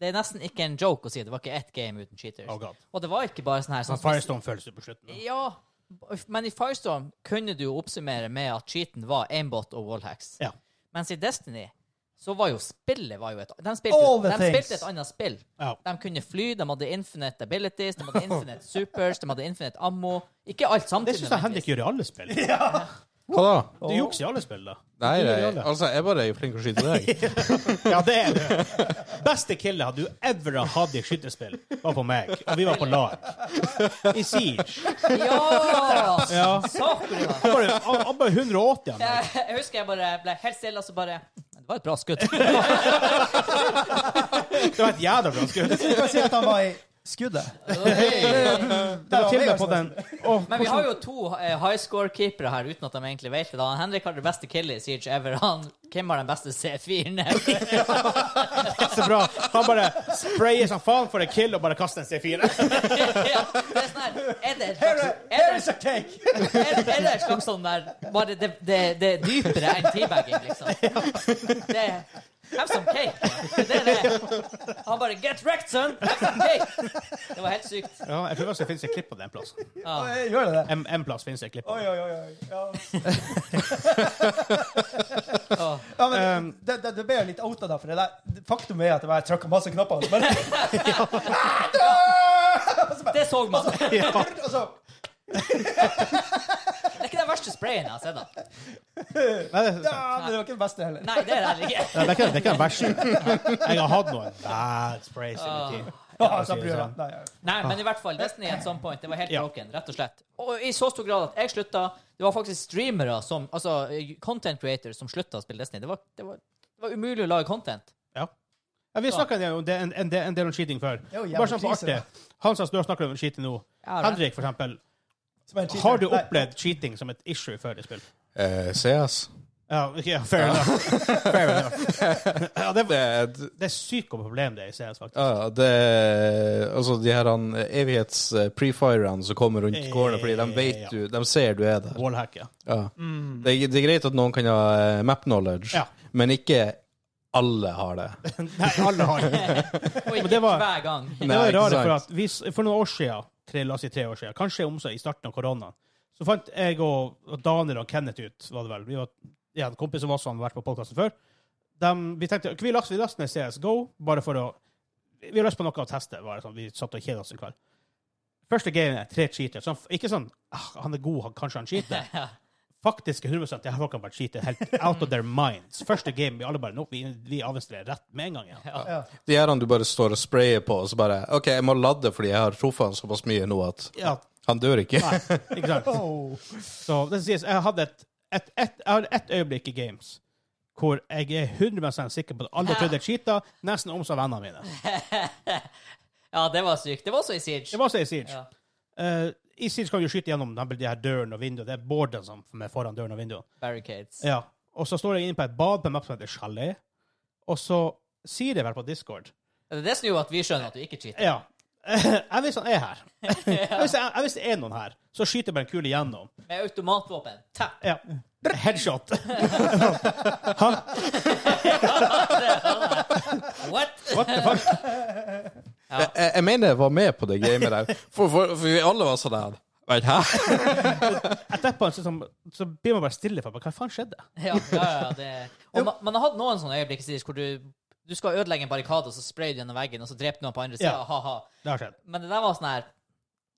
S4: det er nesten ikke en joke å si det var ikke ett game uten cheaters.
S1: Oh God.
S4: Og det var ikke bare sånn her sånn
S1: Firestone føles det på slutten.
S4: Ja, men i Firestorm kunne du jo oppsummere med at cheaten var aimbot og wallhacks.
S1: Ja.
S4: Mens i Destiny så var jo spillet var jo et, De spilte, jo-
S3: All the
S4: de
S3: things.
S4: spilte et annet spill.
S1: Ja.
S4: De kunne fly, de hadde infinite abilities, de hadde infinite supers, de hadde infinite ammo. Ikke alt
S1: Det
S4: samtidig.
S1: syns jeg Henrik gjør i alle spill. Du
S2: Hva da?
S1: jukser i alle spill, da.
S2: Nei,
S1: Du gjør i
S2: jeg,
S1: alle.
S2: altså, jeg bare er flink til å skyte deg.
S1: Ja, det er det. Beste killet hadde du ever har hatt i skytespill, var på meg. Og vi var på lag. I Siege.
S4: nødvendigvis. Ja!
S1: [LAUGHS] Ja.
S4: Sakura!
S1: Han bare, han, han bare 180 han.
S4: Jeg, jeg husker jeg bare ble helt stille, og så bare Det var et bra skudd.
S1: Det var et jævla bra skudd.
S3: Du kan si at han var i skuddet.
S1: Det var til og med på den Åh,
S4: Men vi har jo to eh, high score-keepere her uten at de egentlig vet det. da. Han Henrik har det beste killet i Siege ever. Han, Kim har den beste C4-en [LAUGHS] ever.
S1: så bra. Han bare sprayer som faen for en kill og bare kaster en C4.
S4: Ja, det er sånn her, er det et
S3: Here,
S4: slags,
S3: here
S4: er
S3: is
S4: det,
S3: a cake!
S4: er, er det et slags sånn der Bare det, det, det er dypere enn teabagging, [LAUGHS] liksom. Det er Have some cake. Det er det. Han bare Get wrecked, son! Have some cake! Det var helt sykt.
S1: Ja, jeg tror også det finnes et klipp på det en plass.
S4: Ja.
S3: Oi, Gjør det det?
S1: En, en plass finnes det et klipp. på
S3: Oi,
S1: det.
S3: oi, oi. oi. Ja.
S4: Åh.
S3: Ja,
S1: Um,
S3: men det, det, det ble jo litt outa, da. For det der, faktum er at jeg bare trykka masse knapper. Og så bare Og så bare-
S4: Det så man. Det
S3: [LAUGHS] og så,
S4: er ikke den verste sprayen jeg har sett. da.
S1: Nei, det,
S3: ja, men det var ikke det beste heller.
S4: Nei, det er det ikke.
S1: Nei, det er ikke, det er ikke den verste. Jeg har hatt noen bad sprays i min tid.
S3: Ja, så jeg bryr meg. Nei, ja.
S4: Nei, men i hvert fall, Destiny at some point, det var helt
S1: Ah. Ja.
S4: broken, rett og slett. Og i så stor grad at jeg slutta Det var faktisk streamere som Altså content creators som slutta å spille Destiny. Det var, det var, det var umulig å lage content.
S1: Ja. Ja, vi snakka om det, en, en, del- en del om cheating før.
S3: Det er jo jævlig
S1: Bare sånn på
S3: krise,
S1: artig.
S3: da.
S1: Hans Hans Dør snakker om cheating nå.
S4: Ja, det.
S1: Henrik, for eksempel.
S3: Som er en cheater.
S1: Har du
S3: Nei.
S1: opplevd cheating som et issue før i spill?
S2: [LAUGHS] Eh, CS.
S1: Ja, ok, ja, fair enough. Fair enough. Ja, det,
S2: Det, er-
S1: det er sykt godt problem det i CS, faktisk.
S2: ja, ja, det er- Altså, de her han, evighets eh, pre-fire-ene som kommer rundt gården fordi de vet du De ser du er der.
S1: Wallhack, ja.
S2: Ja. Det, er- det er greit at noen kan ha eh, map knowledge,
S1: Ja.
S2: men ikke alle har det.
S1: Nei, alle har det.
S4: Og ikke
S1: det var-
S4: hver gang.
S1: Det
S2: Nei,
S1: var
S2: ikke
S1: rare
S2: sant?
S1: for at vi, s- for noen år siden, tre, la oss si tre år siden, kanskje om seg i starten av koronaen, så fant jeg og, og Daniel og Kenneth ut, var det vel, vi var ja, en kompis som også har vært på podcasten før, Dem- vi tenkte, vi laste, vi laste ned CSGO, bare for å, vi har lyst på noe å teste, var det sånn, vi satt og kjedet oss en kveld. Første game er tre cheater, sånn, ikke sånn, ah, han er god, han, kanskje han cheater.
S4: Ja.
S1: Faktisk 100% det her folk har vært cheater, helt out of their minds. Første game, vi alle bare, nå, vi, vi avvinsler rett med en gang igjen.
S3: Ja.
S2: De her han du bare står og sprayer på, og så bare OK, jeg må lade fordi jeg har truffet han såpass mye nå at
S1: Ja,
S2: han dør ikke.
S1: nei, ikke sant?
S3: Oh.
S1: Så det skal sies, jeg hadde et, et, et, jeg hadde ett øyeblikk i Games hvor jeg er 100 sikker på at alle trodde jeg cheata, nesten om seg vennene mine.
S4: ja, det var sykt. Det var også i Siege.
S1: Det var så i Siege.
S4: Ja.
S1: Eh, I Siege kan du skyte gjennom de her døren og vinduet. Det er borden som er foran døren og vinduet.
S4: Barricades.
S1: Ja. Og så står jeg inne på et bad på en map som heter Chalet, og så sier jeg vel på Discord
S4: Det er det som gjorde at vi skjønner at du ikke cheater.
S1: Ja. [LAUGHS] Jeg visste han er her. Jeg visste, jeg, jeg visste det er noen her. Så skyter jeg bare en kule gjennom.
S4: Med automatvåpen. Tap.
S1: Ja. Headshot. [LAUGHS]
S4: What?
S1: [LAUGHS] What the fuck?
S2: Jeg, [LAUGHS] jeg, jeg mener jeg var med på det gamet der, [LAUGHS] for, for, for vi alle var sånn her. Vent, hæ?
S1: Etterpå så, sånn som- så blir man bare stille. For, hva faen skjedde?
S4: Ja, ja, ja, det. Og man, man har hatt noen sånne øyeblikk i Siege hvor du, du skal ødelegge en barrikade, og så sprayer du gjennom veggen, og så dreper noen på andre sida.
S1: Ja.
S4: Ha-ha.
S1: Det har skjedd.
S4: Men det der var sånn her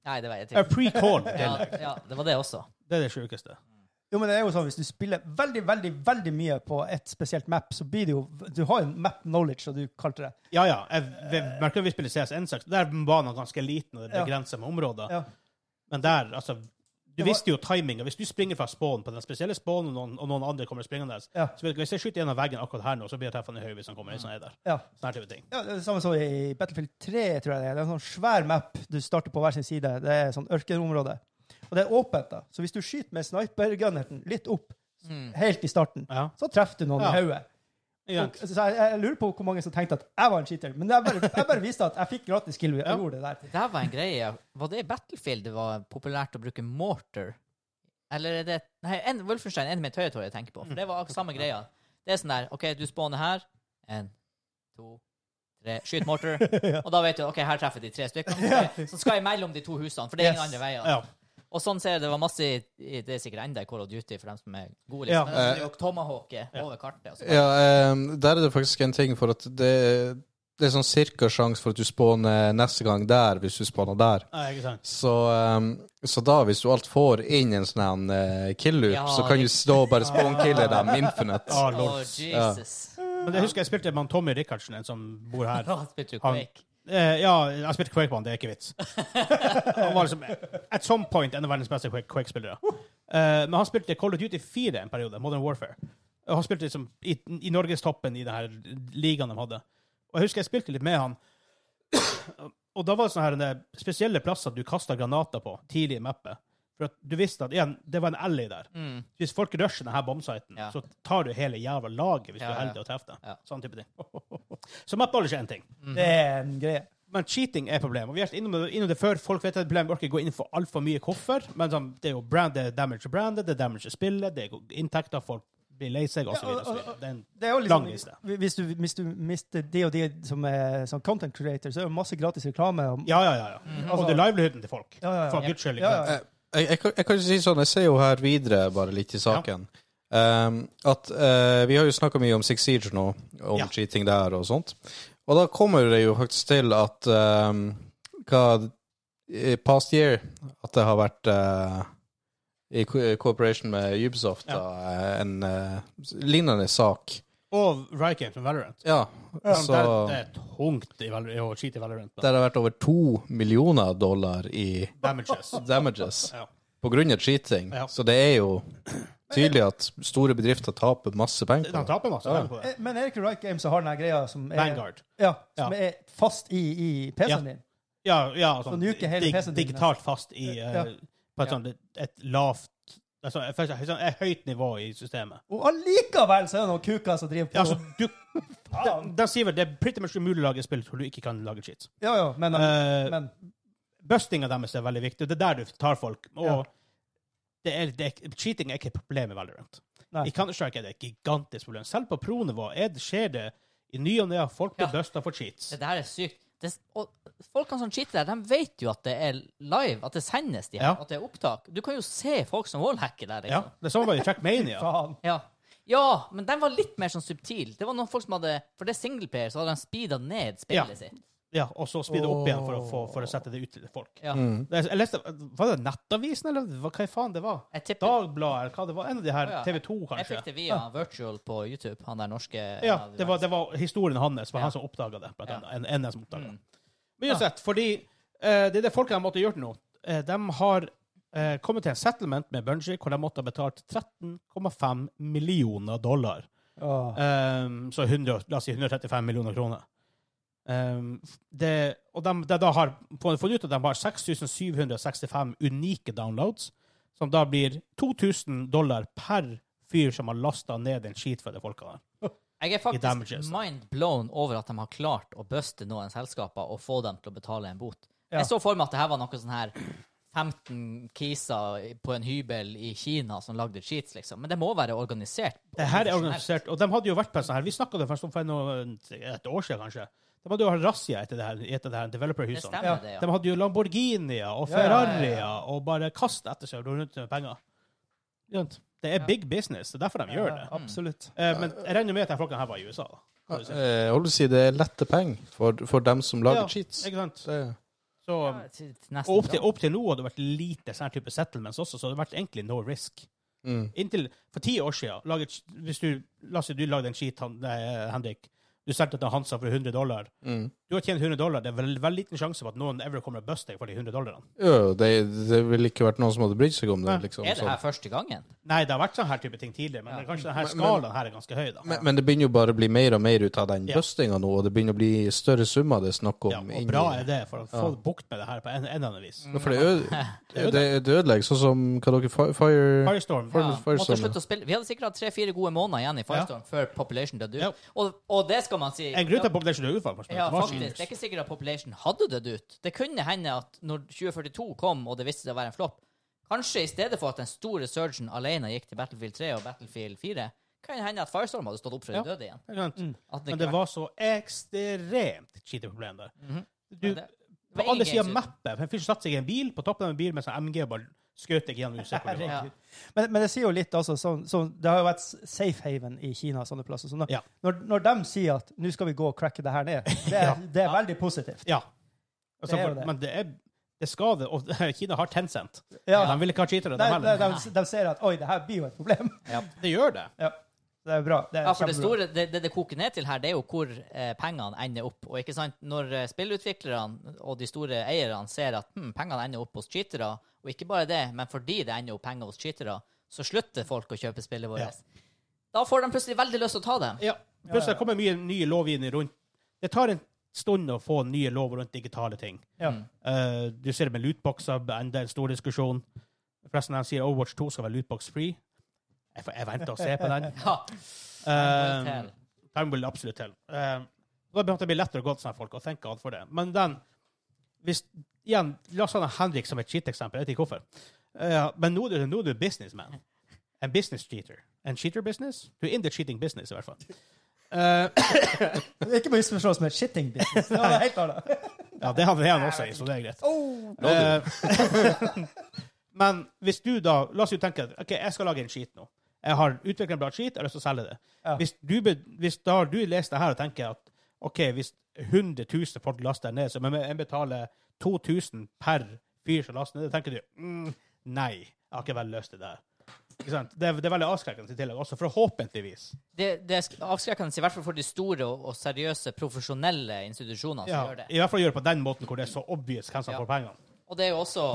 S4: Nei, det var jeg
S1: Ja,
S4: til.
S1: Pre-call. [LAUGHS] i
S4: Ja,
S1: tillegg.
S4: ja, det var det også.
S1: Det er det sjukeste.
S3: Jo, men det er jo sånn, Hvis du spiller veldig veldig, veldig mye på et spesielt map, så blir det jo Du har jo en map knowledge, som du kalte det.
S1: Ja, ja. Jeg, vi merker at vi spiller CS1, så der er banen ganske liten, og det
S3: Ja.
S1: er begrenset med områder.
S3: Ja.
S1: Men der, altså Du
S3: var-
S1: visste jo timinga. Hvis du springer fra spawn på den spesielle spawnen, og noen, og noen andre kommer springende
S3: Ja.
S1: så vet du, Hvis jeg skyter gjennom veggen akkurat her nå, så blir jeg treffende i høyre hvis han kommer. Hvis han er der.
S3: Ja.
S1: Sånne type ting.
S3: Ja, det er det samme som i Battlefield 3, tror jeg det er. Det er en sånn svær map du starter på hver sin side. Det er sånn ørkenområde. Og det er åpent, da. Så hvis du skyter med sniper-gunneren litt opp, helt i starten,
S1: Ja.
S3: så treffer du noen
S1: Ja.
S3: i hodet.
S1: Ja.
S3: Og- Så jeg, jeg lurer på hvor mange som tenkte at jeg var en cheater. Men jeg bare, jeg bare viste at jeg fikk gratis kill. Jeg
S1: Ja.
S3: gjorde det der.
S4: Det der var en greie. Var det i Battlefield det var populært å bruke mortar? Eller er det Nei, en, Wolfenstein er en mitt høyre jeg tenker på. For det var ak- samme greia. Det er sånn der OK, du spawner her. En, to, tre. Skyt
S1: [LAUGHS]
S4: mortar. Og da vet du OK, her treffer de tre stykker. Ok, Så skal jeg mellom de to husene, for det er ingen
S3: Yes.
S4: andre veier.
S1: Ja.
S4: Og sånn ser jeg det var masse i, i Det er sikkert enda i Call of Duty for dem som er gode.
S1: Ja.
S4: Liksom. Men det er jo tomahawke over kartet. Og så bare,
S2: [LAUGHS] Ja, eh, der er det faktisk en ting, for at det, det er sånn cirka sjanse for at du spawner neste gang der, hvis du spawner der.
S1: Nei, ikke sant.
S2: Så, ehm, så da, hvis du alt får inn en sånn her, eh, kill-loop,
S4: Ja,
S2: så kan
S4: det-
S2: du stå og bare spawn-kille dem [LAUGHS] infinite.
S1: Ah,
S4: oh,
S1: lord.
S4: Jesus.
S1: Men jeg husker jeg spilte med han Tommy Rikardsen, en som bor her.
S4: Bra spilt du
S1: Han-
S4: Quake.
S1: Eh, ja, jeg spilte Quake på han, det er ikke vits. [LAUGHS] han var liksom at some point en av verdens beste Quake- Quake-spillere. Eh, men han spilte Call of Duty 4 en periode, Modern Warfare. Og han spilte liksom i, i norgestoppen i den her ligaen de hadde. Og jeg husker jeg spilte litt med han. [CLEARS THROAT] Og da var det sånne her, eh, spesielle plasser du kasta granater på tidlig i mappet. For at du visste at igjen, det var en alley der. Hvis folk rusher denne bombsiten,
S4: Mm. Ja.
S1: så tar du hele jævla laget hvis
S4: Ja,
S1: du er
S4: ja.
S1: heldig og treffer det.
S4: Ja.
S1: Sånn type ting. [LAUGHS] så mapknowledge er én ting.
S3: Det er en greie.
S1: Men cheating er problemet. Og Vi har vært innom det, innom det før. Folk vet at problemet Vi orker ikke gå inn for altfor mye koffer. Men sånn, det er jo brand, det er damage to brandet, det er damage til spillet, det er inntekter, folk blir lei seg, osv.
S3: Ja, og- og-
S1: Det er en
S3: Det er jo
S1: lang
S3: liksom,
S1: liste.
S3: hvis, du, hvis du mister de og de som er som content creator, så er det jo masse gratis reklame. Og,
S1: Ja, ja, ja. ja. Og det er livelihooden til folk.
S3: Mm. Ja, ja, ja.
S1: For guds skyld.
S3: Ja,
S1: ikke
S3: ja,
S1: sant?
S3: ja.
S2: Eh, Jeg, jeg, kan- jeg kan jo si sånn, jeg ser jo her videre bare litt i saken. ehm, at eh, Vi har jo snakka mye om Six Siege nå, om
S1: Ja.
S2: cheating der og sånt. Og da kommer det jo faktisk til at ehm, hva i Past year at det har vært eh, i co- cooperation med Ubisoft
S1: Ja.
S2: da, eh, en eh, lignende sak.
S1: Og Riot Games med Valorant.
S2: Ja,
S1: Så, det,
S2: så
S1: er, det er tungt i Val- å cheate i Valorant. da.
S2: der har vært over to millioner dollar i
S1: Damages.
S2: damages
S1: Ja.
S2: på grunn av cheating.
S1: Ja.
S2: Så det er jo tydelig at store bedrifter taper masse penger
S1: Han
S2: på det.
S1: taper masse
S2: Ja.
S1: penger på det.
S3: Eh, Men er det ikke Right Games som har den her greia som er,
S1: Vanguard.
S3: Ja, som
S1: Ja.
S3: er fast i, i PC-en din?
S1: Ja, ja sånn,
S3: Så nuker hele
S1: dig,
S3: PC-en din,
S1: digitalt fast i eh,
S3: Ja.
S1: på et, sånt, et lavt altså, et, et, et høyt nivå i systemet.
S3: Og allikevel så er det noen kuker som driver på.
S1: Ja, altså, du, de,
S3: [LAUGHS] Faen.
S1: de sier vel det er pretty much umulig å lage et spill hvor du ikke kan lage cheats.
S3: ja, ja, men,
S1: Eh,
S3: men
S1: Bustinga deres er veldig viktig, og det er der du tar folk. Og
S3: Ja.
S1: det er, det er, cheating er ikke et problem i Valorant.
S3: Nei.
S1: I Counter-Strike er det et gigantisk problem. Selv på pro-nivå er det- skjer det i ny og ne at folk blir
S4: Ja.
S1: busta for cheats.
S4: Det der er sykt. Det, og folkene som cheater der, de vet jo at det er live, at det sendes, de her,
S1: Ja.
S4: at det er opptak. Du kan jo se folk som wallhacker der.
S1: Ja,
S4: Liksom.
S1: det er sånn var det i Trackmania.
S3: [LAUGHS] faen.
S4: Ja. ja, men den var litt mer sånn subtil. Det var noen folk som hadde For det er singleplayer, så hadde de speeda ned spillet sitt.
S1: Ja, og så speede opp igjen for å, få, for å sette det ut til folk.
S4: Ja.
S1: Det er- Jeg leste, var det Nettavisen, eller hva hva faen det var?
S4: Jeg tipper-
S1: Dagbladet, eller hva det var? En av de her,
S4: Å, ja.
S1: TV 2,
S4: Jeg fikk
S1: kanskje?
S4: det via Virtual på YouTube, han der norske
S1: Ja,
S4: en av de
S1: det var,
S4: verdens-
S1: det var historien hans, var
S4: Ja.
S1: han som oppdaga det. Blant
S4: Ja.
S1: annet, en, en av dem som oppdaget det. Men uansett, fordi eh, det er det folkene måtte gjort nå. Eh, de har eh, kommet til en settlement med Bungie hvor de måtte ha betalt 13,5 millioner dollar.
S3: Åh.
S1: Um, så 100, la oss si 135 millioner kroner. Um, det, og de, de da har funnet ut at de har 6765 unike downloads, som da blir 2000 dollar per fyr som har lasta ned en skit for de folka der.
S4: Jeg er
S1: damages,
S4: faktisk
S1: da.
S4: mind blown over at de har klart å buste noen selskaper og få dem til å betale en bot.
S3: Ja.
S4: Jeg så for meg at det her var noe sånn her 15 kiser på en hybel i Kina som lagde cheats, liksom. Men det må være organisert.
S1: Det her er organisert, og de hadde jo vært på en sånn her. Vi snakka det først om for noe- et år siden, kanskje. De hadde jo hatt razzia etter det her, etter det her
S4: Det
S1: developerhusene.
S4: stemmer,
S3: Ja.
S4: det,
S1: De
S4: ja.
S1: hadde jo Lamborghinier og
S3: Ja, ja, ja, ja.
S1: Ferrarier og bare kasta etter seg rundt med penger. Skjønt? Det er big business. Det er derfor de gjør det.
S3: Ja, Absolutt.
S1: Eh, Men jeg regner med at de folkene her var i USA. da.
S2: Ja, eh, Jeg holder på å si det er lette penger for, for dem som lager
S1: Ja,
S2: cheats.
S1: Ikke sant?
S2: Det,
S1: Så, um,
S4: Ja, til- til nesten
S1: og opp til,
S4: bra.
S1: opp til nå har det vært lite sånn type settlements også, så det har vært egentlig no risk.
S2: mm.
S1: Inntil for ti år siden, laget, hvis du, la oss si du lagde en skit, han, nei, Henrik, du solgte til Hansa for 100 dollar.
S2: Mm.
S1: Du har tjent 100 dollar, det er veldig, veldig liten sjanse for at noen ever kommer og buster deg for de 100 dollarene.
S2: Jo, det, det ville ikke vært noen som hadde brydd seg om det.
S1: Nei.
S2: Liksom,
S4: Er det
S2: sånn.
S4: her første gangen?
S1: Nei, det har vært sånn her type ting tidligere, men
S4: Ja.
S1: kanskje denne
S2: Men- men-
S1: skalaen her er ganske høy, da.
S2: Men, men det begynner jo bare å bli mer og mer ut av den
S1: Ja.
S2: bustinga nå, og det begynner å bli større summer det er snakk om.
S1: ja,
S2: inn
S1: og
S2: i-
S1: bra er det, for å få
S2: Ja. Mm.
S1: bukt med det her på en, en eller annen vis.
S2: Ja, For
S4: [LAUGHS]
S2: det, øde, det, det ødelegger, sånn som hva dere Fire, fire
S1: Firestorm.
S2: For-
S4: Ja,
S2: for-
S4: måtte
S2: sånn,
S4: slutte å spille. Vi hadde sikkert hatt tre-fire gode måneder igjen i Firestorm før Population døde ut.
S1: Ja.
S4: Og, og det skal man si.
S1: En grunn til at Population er ufa,
S4: Ja, faktisk. Det er ikke sikkert at Population hadde dødd ut. Det kunne hende at når 2042 kom, og det viste seg å være en flopp, kanskje i stedet for at den store surgen alene gikk til Battlefield 3 og Battlefield 4, kan det hende at Firestorm hadde stått opp fra de
S1: Ja.
S4: døde igjen.
S1: Ikke sant?
S4: Mm. At
S1: Men
S4: ikke
S1: det var så ekstremt cheater-problem der.
S4: Mhm.
S1: Du,
S4: Ja, det-
S1: på
S4: var
S1: alle
S4: ingen
S1: sider av
S4: games
S1: mappet. En fyr som satte seg i en bil, på toppen av en bil med sånn MG, og bare skjøt deg gjennom usikker.
S4: vært-
S1: Ja.
S4: ja.
S3: Men, men det sier jo litt, altså. Sånn, sånn, det har jo vært safe haven i Kina og sånne plasser. Så når,
S1: Ja.
S3: når, når de sier at 'nå skal vi gå og cracke det her
S1: [LAUGHS]
S3: ned', det er, det er veldig positivt.
S1: ja. Altså,
S3: Det er jo
S1: for-
S3: det.
S1: Men det er det skal det, og [LAUGHS] Kina har Tencent.
S3: Ja.
S1: De vil ikke ha cheatere, de
S3: Nei, nei,
S1: heller.
S3: de, de, ser at 'oi, det her blir jo et problem'.
S1: Det gjør det.
S3: Ja. Det er bra. Det er
S4: Ja, for det
S3: kjempebra.
S4: store, det, det det koker ned til her, det er jo hvor eh, pengene ender opp. Og ikke sant, når eh, spillutviklerne og de store eierne ser at hm, pengene ender opp hos cheatere, og ikke bare det, men fordi det ender opp penger hos cheatere, så slutter folk å kjøpe spillet vårt.
S1: Ja.
S4: Da får de plutselig veldig lyst til å ta dem.
S1: Ja. Pluss det kommer mye nye lovgivning rundt Det tar en stund å få nye lover rundt digitale ting.
S3: Ja.
S1: Eh, du ser det med lootboxer, enda en stor diskusjon. Forresten, de sier Overwatch 2 skal være lootbox-free. Jeg, får- jeg venter og ser på
S3: [LAUGHS]
S1: den.
S4: Ja.
S1: Um,
S4: Time will tell.
S1: time will absolutt til. Um, da begynte det å bli lettere å gå til sånne folk og tenke alt for det. Men den hvis, igjen, La oss ta den Henrik som et cheat-eksempel. Jeg vet ikke hvorfor. Uh, men nå er du- nå er du businessman. En business cheater. En cheater business? Du er in the cheating business, i hvert fall. Uh,
S3: Ikke misforstås med shitting [LAUGHS] business. Det var helt annet.
S1: ja, det har vi han også i, så det er greit.
S3: Oh.
S1: Eh, [LAUGHS] Men hvis du da La oss jo tenke at, OK, jeg skal lage en skit nå. Jeg har utviklet en bra skit, jeg har lyst til å selge det.
S3: Ja.
S1: Hvis, du, be- hvis da har du leser det her og tenker at OK, hvis 100 000 folk laster ned, så må jeg betale 2000 per fyr som laster ned, da tenker du mm, nei, jeg har ikke vel lyst til det her. Ikke sant? Det, er- det er veldig avskrekkende i tillegg, også forhåpentligvis.
S4: Det, det er sk- avskrekkende, i hvert fall for de store og, og seriøse, profesjonelle institusjonene som
S1: Ja,
S4: gjør det.
S1: I hvert fall gjøre det på den måten hvor det er så obvious hvem som
S4: Ja.
S1: får pengene.
S4: Og det er jo også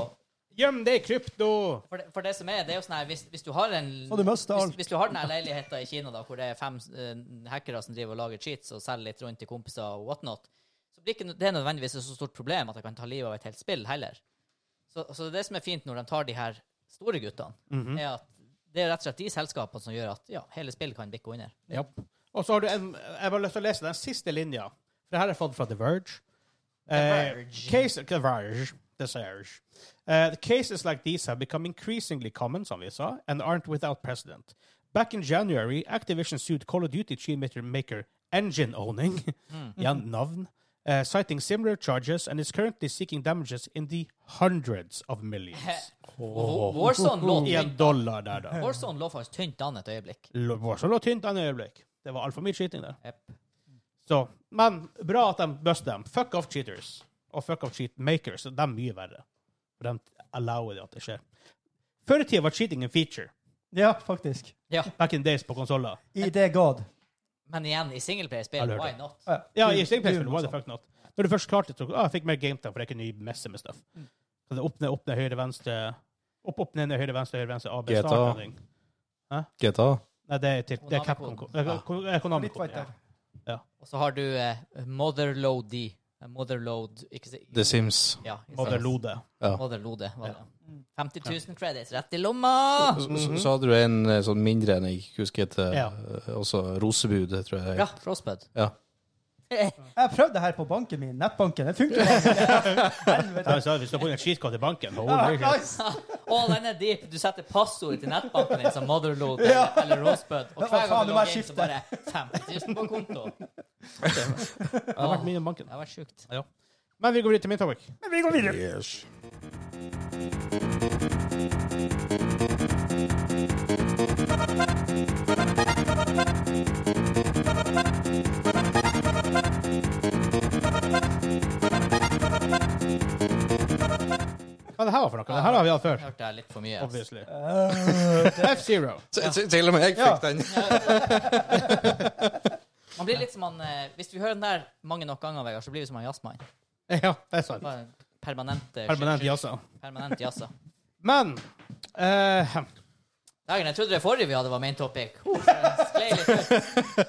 S1: Gjem det i krypto!
S4: For det, for det som er, det er jo sånn her Hvis, hvis du har en
S3: Og du mister alt.
S4: hvis, hvis du har den her leiligheten i Kina da, hvor det er fem eh, hackere som driver og lager cheats og selger litt rundt til kompiser og whatnot, så blir ikke nø- det nødvendigvis et så stort problem at de kan ta livet av et helt spill heller. Så, så det som er fint når de tar de her store guttene,
S3: Mhm.
S4: er at det er rett og slett de selskapene som gjør at ja, hele spill kan bikke under.
S1: Ja. Og så har du en Jeg har lyst til å lese den siste linja. For det her har jeg fått fra The Verge.
S4: The
S1: Eh,
S4: Verge.
S1: case, The Verge. The Verge. Uh, the cases like these have become increasingly common, som vi sa, and aren't without precedent. Back in January, Activision sued Call of Duty cheatmaker maker Engine
S4: [LAUGHS]
S1: Owning,
S4: Hmm.
S1: [LAUGHS] ja, navn, eh, citing similar charges and is currently seeking damages in the hundreds of millions.
S4: Warzone sånn lå
S1: [LAUGHS] I en
S4: tynt-
S1: dollar der, da.
S4: Warzone lå faktisk tynt an et øyeblikk.
S1: Lo- Warzone lå tynt an et øyeblikk. Det var altfor mye cheating der.
S4: Yep.
S1: Så, men bra at de buster dem. Fuck off cheaters. Og fuck off cheat makers. De er mye verre. For de allower det at det skjer. Før i tida var cheating en feature.
S3: Ja, faktisk.
S4: Ja,
S1: Back in days på konsoller.
S3: I det god.
S4: men igjen, i
S1: Jeg
S4: singleplayer-spill,
S1: lørte.
S4: why not?
S3: Ja,
S1: Ja,
S3: du-
S1: i singleplayer
S3: du-
S1: var det fuck not. Når du først klarte det, så ah, jeg fikk mer gametime, for jeg kunne messe med stuff. Så det åpner, åpner, høyre, venstre Opp, opp, ned, ned, høyre, venstre, høyre, venstre, AB,
S2: GTA.
S1: start, running.
S2: GTA.
S1: Nei, det er, til, det er Capcom.
S4: Ja.
S1: Eh, Konami.
S3: Street Fighter.
S4: Og så har du eh, Motherload D. Eh, Motherload ikke si,
S2: The Sims.
S4: Ja, ikke sant?
S1: Mother Lode.
S4: Motherlode, var det.
S1: Ja.
S4: 50 000 credits rett i lomma!
S2: Så, så- så hadde du en eh, sånn mindre enn jeg ikke husker heter,
S1: Mhm. Ja.
S2: eh, også Rosebu, det tror jeg.
S4: Ja, [LAUGHS] Frostbud.
S2: Ja.
S3: Jeg prøvde det her på banken min. Nettbanken. Det [LAUGHS] funker ikke. Helvete.
S1: Ja, så Hvis du har fått en cheatkode i banken
S3: Ah,
S1: holy shit.
S3: nice.
S4: Å, den er deep. Du setter passordet til nettbanken din som Motherload
S3: Ja.
S4: eller, eller Rosebud, og
S3: Ja,
S4: hver
S3: faen,
S4: gang
S3: du
S4: du
S3: må
S4: logger inn,
S3: skifte.
S4: så bare 50 000 på konto.
S1: Det har vært mye i banken.
S4: Det var sjukt.
S1: Men vi går videre til min topic.
S3: Vi går videre.
S2: Yes.
S1: Hva det her var for noe? Det her har vi hatt før.
S4: Hørte jeg litt for mye. ass.
S1: Obviously. Uh,
S3: Eh,
S1: F-Zero.
S2: Til- til- Til og med jeg
S3: Ja.
S2: fikk den.
S4: Man blir litt som han eh, Hvis vi hører den der mange nok ganger, Vegard, så blir vi som han jazzmann.
S1: [LAUGHS] Ja, det er sant.
S4: Bare Permanente
S1: Permanent jazza.
S4: eh, Permanent jazza.
S1: Men eh,
S4: Dagen, jeg trodde det forrige vi hadde, var main topic. Uh, sklei litt
S3: [LAUGHS]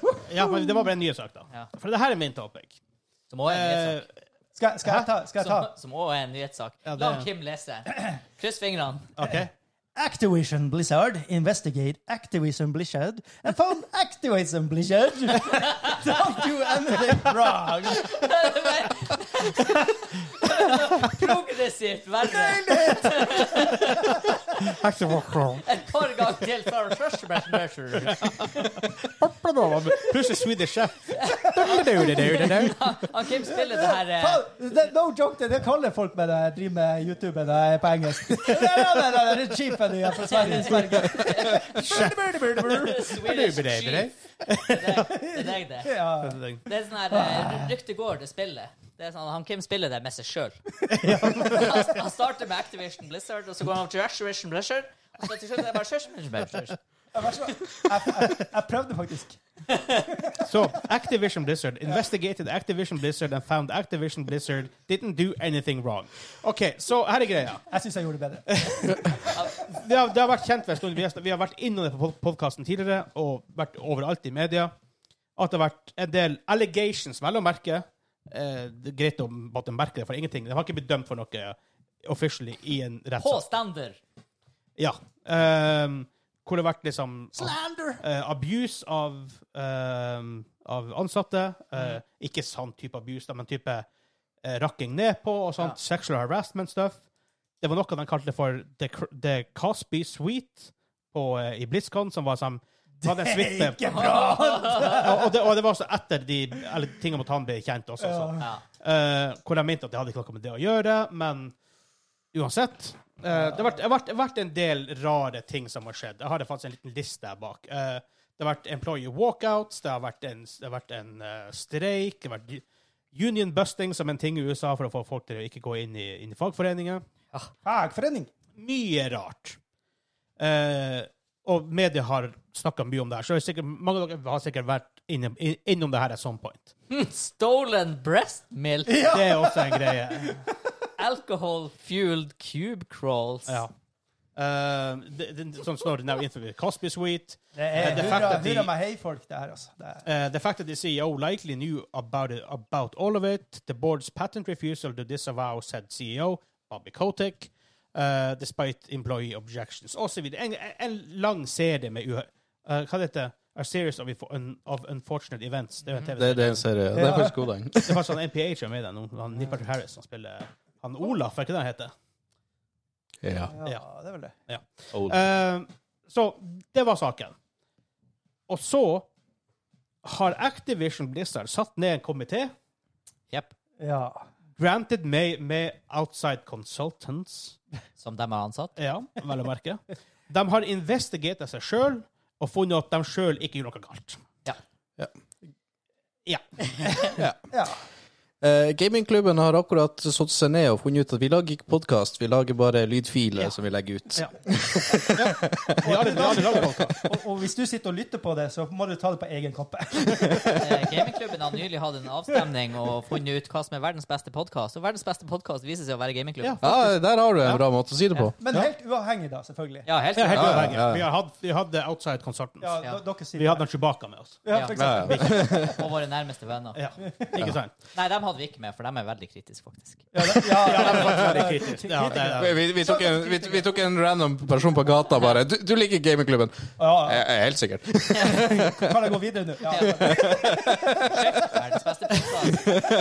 S4: ut.
S1: Ja, men det var bare en ny sak, da.
S4: Ja.
S1: For det her er min topic.
S4: Som også er en nyhetssak.
S1: Eh,
S3: skal, jeg- skal jeg ta? Eh, Skal jeg ta?
S4: Som, som også er en nyhetssak.
S1: Ja, det-
S4: La Kim
S3: [CLEARS THROAT]
S4: lese. Kryss fingrene. [LAUGHS]
S1: Eh, OK.
S3: Activision Blizzard investigate Activision Blizzard and found Activision Blizzard don't do anything wrong.
S4: Progressivt verre. Et par ganger til før første measure.
S1: Plutselig Swedish Chef. [LAUGHS] Hva
S4: Han Kim spiller det her eh,
S3: Faen, det- No joke, det, det kaller folk med det driver med YouTube det er på engelsk. [LAUGHS] Det er det cheape de er fra Sverige. Sverige.
S4: Swedish
S1: Bidei,
S4: Chief.
S1: bidei.
S4: Det er deg- det. er deg, det.
S3: Ja.
S4: Det er sånn her eh, Ryktet går, det spillet. Det er sånn, han Kim spiller det med seg sjøl. Han, han starter med Activision Blizzard, og så går han over til Activision Blizzard. Og så til slutt er det bare Activision Blizzard.
S3: Jeg, jeg, jeg prøvde faktisk.
S1: So, Activision Blizzard investigated Activision Blizzard and found Activision Blizzard didn't do anything wrong. OK, så her er greia.
S3: Jeg syns jeg gjorde det bedre.
S1: det, har, det har vært kjent for en stund. Vi har, vi har vært innom det på podkasten tidligere og vært overalt i media. At det har vært en del allegations, vel å merke. Eh, det er greit å at de merker det for ingenting. De har ikke blitt dømt for noe officially i en rettssak.
S4: Påstander.
S1: Ja. Ehm, hvor det har vært liksom
S3: Sånn
S4: Slander.
S1: eh, abuse av, ehm, av ansatte. Eh, ikke sånn type abuse, da, men type eh, rakking ned på og sånt. Sexual harassment stuff. Det var noe de kalte for The, Cr- the Cosby Suite på, eh, i BlitzCon, som var sånn var den suite-
S3: Ikke bra!
S1: og, og, det, og det var også etter de eller, tingene mot han ble kjent også. Så.
S4: Ja.
S1: Eh, hvor de mente at det hadde ikke noe med det å gjøre, men uansett eh, Det har vært, det har vært, det har vært en del rare ting som har skjedd. Jeg har faktisk en liten liste her bak. Eh, det har vært employee walkouts, det har vært en, det har vært en eh, streik, det har vært u- union busting som en ting i USA for å få folk til å ikke gå inn i, inn i fagforeninger.
S3: Fagforening.
S1: Mye rart. Eh, og media har snakka mye om det her, så det er sikkert, mange av dere har sikkert vært innom, inn- innom det her at some point.
S4: Stolen Hmm, breast milk.
S3: [LAUGHS]
S1: Det er også en greie.
S4: Alcohol-fueled cube crawls.
S1: Ja. Eh, det- det- som står now interviewed Cosby Suite.
S3: Det
S1: Men
S3: er
S1: det fact
S3: hurra,
S1: at de-
S3: hurra meg hei-folk, det her, altså. Det er,
S1: Uh, the fact that the CEO likely knew about it, about all of it, the board's patent refusal to disavow said CEO, Bobby Kotick, uh, despite employee objections, osv. En, en lang serie med uhø... Uh, hva det heter A Series of, Info- un, of Unfortunate Events. Det er jo en
S2: Det,
S1: TV-serie.
S2: det er en serie. Mm-hmm. Det er faktisk god, den.
S1: Det sånn er faktisk han MPH som er med i den nå. Han Nippert Harris som spiller han Olaf, er ikke det han heter?
S2: Ja.
S3: ja, det er vel det.
S2: Old.
S1: Eh, så det var saken. Og så har Activision Blizzard satt ned en komité,
S4: Jep,
S3: Ja.
S1: granted med, med outside consultants,
S4: som de har ansatt.
S1: ja, vel å merke. [LAUGHS] De har investigert seg sjøl og funnet at de sjøl ikke gjorde noe galt.
S4: Ja.
S2: Ja.
S1: Ja.
S3: ja.
S2: Eh, gamingklubben har akkurat satt seg ned og funnet ut at vi lager ikke podkast, vi lager bare lydfiler
S1: Ja.
S2: som vi legger ut.
S1: ja. Vi har, vi har, vi har,
S3: Og, og hvis du sitter og lytter på det, så må du ta det på egen kappe.
S4: Eh, Gamingklubben har nylig hatt en avstemning og funnet ut hva som er verdens beste podkast. Og verdens beste podkast viser seg å være
S1: Ja.
S4: Gamingklubben.
S2: Ja, der har du en
S1: Ja.
S2: bra måte å si det på.
S3: Men helt uavhengig, da, selvfølgelig.
S4: Ja, helt
S1: ja, helt
S4: klart.
S2: ja,
S1: uavhengig.
S2: ja.
S1: Vi har hatt, vi hadde outside consultants.
S3: Ja,
S4: Ja.
S3: d- dere sier
S1: Vi hadde Chewbacca med oss.
S3: Ja, for eksempel.
S2: Ja, ja.
S4: Og våre nærmeste venner.
S1: Ja. Ikke sant?
S4: Nei, dem hadde vi ikke med, for dem er veldig kritiske, faktisk.
S3: Ja, da- ja,
S1: Ja, det
S3: ja,
S1: er faktisk veldig kritisk. Ja, det er,
S2: Vi, vi, tok en, vi, vi tok en random person på gata bare. Du, du liker gamingklubben. [LAUGHS]
S3: ja,
S2: Jeg, jeg er helt sikkert.
S3: ja. Kan jeg gå videre nå? Ja, altså,
S4: Ja. Verdens beste podkast.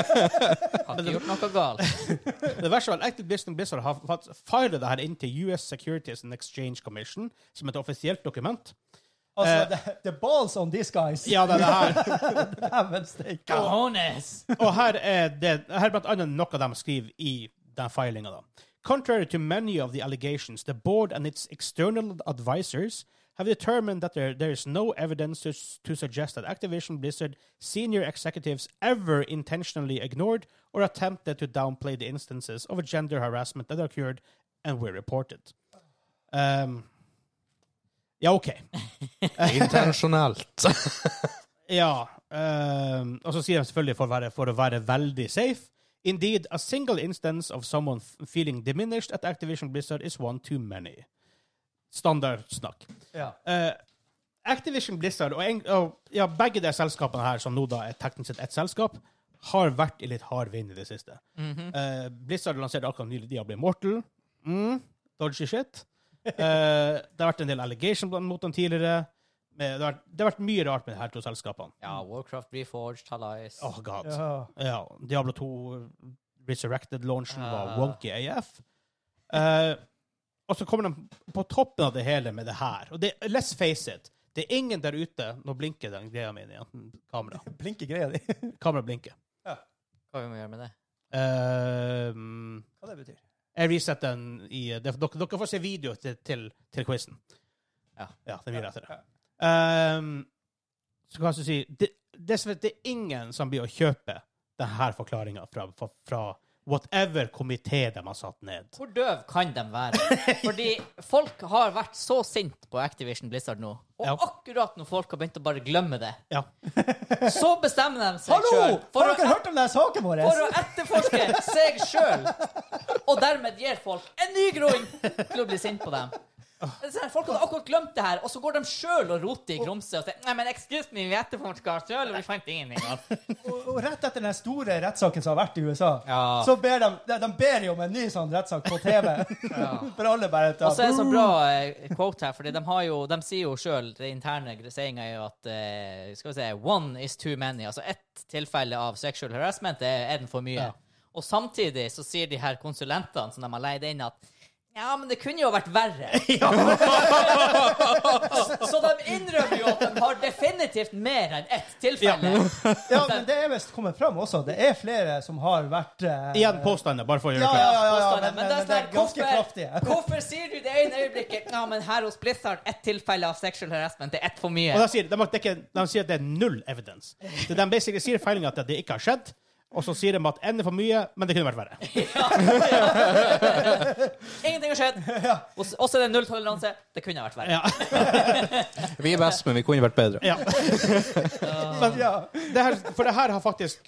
S4: Har ikke gjort noe
S3: [LAUGHS]
S4: galt.
S1: Det verste var at Activision Blizzard har fått filet det her inn til US Securities and Exchange Commission som et offisielt dokument.
S3: altså, the, the balls on these guys.
S1: Ja, det er det her.
S3: Dæven steike.
S4: Cajones!
S1: [LAUGHS] Og her er det her er blant annet noe de skriver i den filinga. da. Contrary to many of the allegations, the board and its external advisors have determined that there, there is no evidence to, to suggest that Activision Blizzard senior executives ever intentionally ignored or attempted to downplay the instances of gender harassment that occurred and were reported. Um, ja, OK.
S2: Intensjonelt.
S1: Ja. ehm, og så sier de selvfølgelig for å, være, for å være veldig safe. Indeed, a single instance of someone f- feeling diminished at Activision Blizzard is one too many. Standard snakk.
S3: Ja.
S1: Eh, Activision Blizzard og, en, og ja, begge de selskapene her, som nå da er teknisk sett ett selskap, har vært i litt hard vind i det siste. Eh, Blizzard lanserte akkurat nylig Diablo Immortal. Mm, dodgy shit. Eh, det har vært en del allegations mot dem tidligere. Men Det har, vært, det har vært mye rart med de her to selskapene.
S4: Ja, Warcraft Reforged, Hallais.
S1: Oh god. Ja.
S3: Ja.
S1: Diablo 2 Resurrected-launchen var
S4: Ah.
S1: wonky AF. Eh, og så kommer de på toppen av det hele med det her. Og det, let's face it, det er ingen der ute Nå blinker den greia mi igjen. Kamera.
S3: Blinke greia di.
S1: Kamera blinker.
S4: Hva vi må gjøre med det?
S1: Eh,
S3: Hva det betyr
S1: jeg resetter den i det, dere, dere får se video til, til, til quizen.
S4: Ja.
S1: ja. Det blir etter det.
S3: Ja.
S1: Ehm, så kan jeg si det, det, som- det er ingen som blir å kjøpe denne forklaringa fra, fra, fra whatever komité de har satt ned.
S4: Hvor døv kan de
S3: [LAUGHS]
S4: være? Fordi folk har vært så sint på Activision Blizzard nå. Og
S1: Ja.
S4: akkurat når folk har begynt å bare glemme det,
S1: Ja.
S4: så bestemmer de seg
S3: Hallo!
S4: sjøl
S3: Har
S4: for,
S3: dere
S4: å-
S3: hørt om denne saken vår?
S4: for å etterforske seg sjøl. Og dermed gir folk en ny grunn til å bli sint på dem. Det er sånn, Folk hadde akkurat glemt det her, og så går de sjøl og roter i grumset og sier Nei, men excuse me, vi etterforska oss sjøl, og vi fant ingenting. altså."
S3: Og, og rett etter den store rettssaken som har vært i USA,
S4: Ja.
S3: så ber de, de, de ber jo om en ny sånn rettssak på TV. [LAUGHS] For alle bare
S4: Og så er det så bra
S3: Ah.
S4: eh, quote her, Fordi de, har jo, de sier jo sjøl, det interne sayinga er jo at eh, Skal vi se One is too many. Altså ett tilfelle av sexual harassment er, er den for mye.
S1: Ja.
S4: Og samtidig så sier de her konsulentene som de har leid inn, at ja, men det kunne jo vært
S3: [LAUGHS]
S4: verre. [LAUGHS] så de innrømmer jo at de har definitivt mer enn ett tilfelle.
S3: Ja, men det er visst kommet fram også. Det er flere som har vært eh,
S1: Igjen påstander, bare for å gjøre
S3: Ja,
S1: det
S3: ja,
S1: klart.
S3: ja, ja,
S4: påstander,
S3: men, men,
S4: det er
S3: det er
S4: sånn,
S3: ganske
S4: hvorfor-
S3: kraftige.
S4: Hvorfor sier du det ene øyeblikket Ja, men her hos Blizzard ett tilfelle av sexual harassment det er ett for mye?
S1: Og de sier, de, at det ikke, de sier at det er null evidence. Så de basically sier feilinga at det ikke har skjedd. Og så sier de at en er for mye, men det kunne vært verre.
S4: Ingenting har skjedd. Og s- Også er det nulltoleranse. Det kunne ha vært verre.
S1: Ja.
S2: Vi er best, men vi kunne vært bedre.
S3: [LAUGHS]
S1: ja. [LAUGHS] Men
S3: Ja.
S1: det her, for det her har faktisk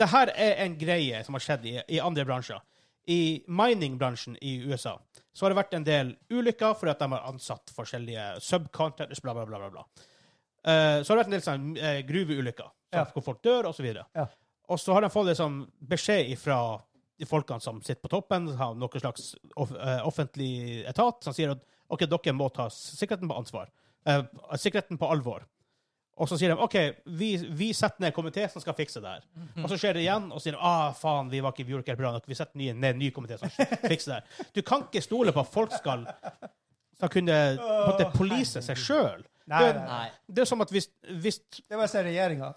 S1: Det her er en greie som har skjedd i, i andre bransjer. i mining-bransjen i USA så har det vært en del ulykker fordi at de har ansatt forskjellige subcontractors, bla, bla, bla. bla, bla. Eh, så har det vært en del sånn, eh, gruveulykker, sånn,
S3: Ja.
S1: hvor folk dør, osv. videre.
S3: Ja.
S1: Og så har de fått liksom, beskjed fra de folkene som sitter på toppen, har noen slags off eh, offentlig etat, som sier at ok, dere må ta sikkerheten på ansvar. Eh, sikkerheten på alvor. Og så sier de OK, vi, vi setter ned en komité som skal fikse det her.
S3: Mhm.
S1: Og så skjer det igjen, og så sier de ah, faen, vi var ikke, vi gjorde ikke helt bra nok. Vi setter ny, ned en ny komité som
S3: [LAUGHS]
S1: fikser det her. Du kan ikke stole på at folk skal, skal kunne på en måte police seg sjøl.
S3: Nei,
S1: Det-
S3: nei, nei.
S4: Nei. [LAUGHS]
S1: Det er som at hvis, hvis
S3: Det var jeg ser regjeringa.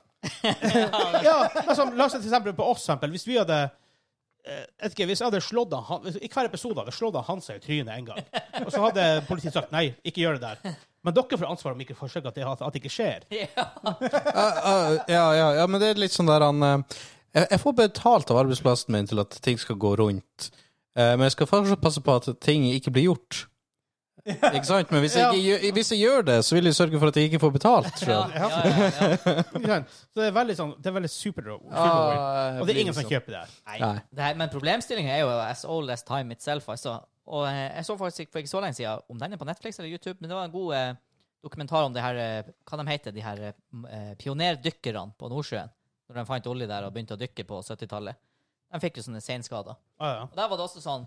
S1: ja, altså, La oss si for eksempel på oss, for eksempel, hvis vi hadde eh, vet ikke, hvis jeg hadde slått av han, hvis- I hver episode hadde jeg slått av Hansa i trynet en gang. Og så hadde politiet sagt nei, ikke gjør det der. Men dere får ansvar om ikke forsøker at det, at det ikke skjer.
S2: Ja, Ah, ja, ja, ja, men det er litt sånn der han eh, Jeg jeg får betalt av arbeidsplassen min til at ting skal gå rundt. Eh, Men jeg skal fortsatt passe på at ting ikke blir gjort. Ikke sant? Men hvis jeg, ikke gjør, hvis jeg gjør det, så vil jeg sørge for at jeg ikke får betalt.
S4: Ja,
S2: selv.
S4: ja, ja, ja.
S1: [LAUGHS] Ikke sant? Så det er veldig sånn, det er veldig super, super
S2: Ah, jeg
S1: Og det er
S2: blir
S1: ingen som
S2: sånn.
S1: kjøper det her.
S2: Nei.
S4: Det her, men problemstillingen er jo as old as time itself, altså. Og eh, jeg så faktisk for ikke så lenge siden om den er på Netflix eller YouTube, men det var en god eh, dokumentar om det her eh, Hva de heter de her eh, m- eh, pionerdykkerne på Nordsjøen? Når de fant olje der og begynte å dykke på 70-tallet. De fikk jo sånne senskader.
S1: Ah, ja.
S4: Og der var det også sånn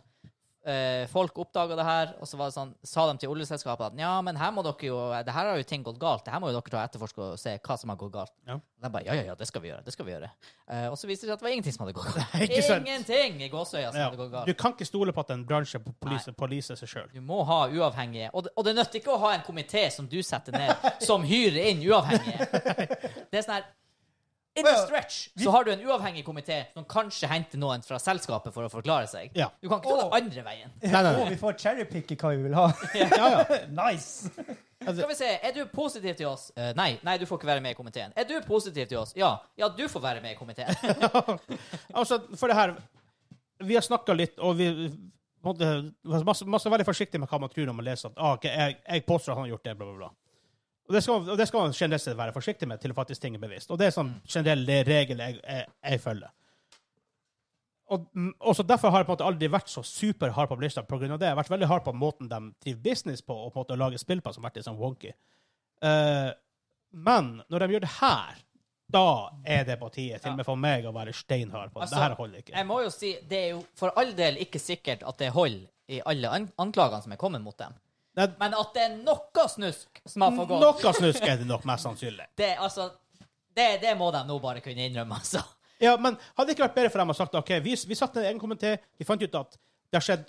S4: eh, Folk oppdaga det her, og så var det sånn, sa de til oljeselskapet at ja, men her må dere jo eh, Det her har jo ting gått galt. Det her må jo dere ta og etterforske og se hva som har gått galt.
S1: Ja.
S4: Og de bare ja, ja, ja, det skal vi gjøre. det skal vi gjøre. Eh, og så viste det seg at det var ingenting som hadde gått
S1: [LAUGHS]
S4: galt.
S1: Ikke sant?
S4: ingenting i gåsøya som hadde gått
S1: Ja. Du
S4: galt.
S1: kan ikke stole på at en bransje på police, police seg sjøl.
S4: Du må ha uavhengige. Og det, og det nytter ikke å ha en komité som du setter
S1: [LAUGHS]
S4: ned, som hyrer inn uavhengige. Det er sånn her In the
S3: Well,
S4: stretch så har du en uavhengig komité som kanskje henter noen fra selskapet for å forklare seg.
S1: Ja.
S4: Du kan ikke ta
S3: Åh.
S4: det andre veien.
S1: Nei, nei,
S3: Og
S1: nei.
S3: vi får cherrypicke hva vi vil ha. [LAUGHS]
S1: Ja, ja.
S3: nice!
S4: Skal vi se, er du positiv til oss? Eh, nei, nei, du får ikke være med i komiteen. Er du positiv til oss? Ja, ja, du får være med i komiteen.
S1: Altså, for det her Vi har snakka litt, og vi måtte, masse, masse være forsiktig med hva man tror når man leser at ah, ok, jeg, jeg påstår at han har gjort det, bla, bla, bla. Og det skal, man- og det skal man generelt sett være forsiktig med til faktisk ting er bevisst. Og det er sånn generell det regel jeg, jeg, jeg følger. Og, og så Derfor har jeg på en måte aldri vært så superhard på Blizzard på grunn av det. Jeg har vært veldig hard på måten de driver business på, og på en måte å lage spill på, som har vært litt sånn wonky. Eh, men når de gjør det her, da er det på tide, til og med for meg, å være steinhard på [LAUGHS] det.
S4: Altså,
S1: det her holder ikke.
S4: Jeg må jo si, det er jo for all del ikke sikkert at det holder i alle an anklagene som er kommet mot dem.
S1: Nei,
S4: Men at det er noe snusk som har forgått,
S1: Noe snusk er det nok mest sannsynlig.
S4: det, altså, det, det må de nå bare kunne innrømme, altså.
S1: Ja, men hadde det ikke vært bedre for dem å sagt OK, vi, vi satte ned en komité, vi fant ut at det har skjedd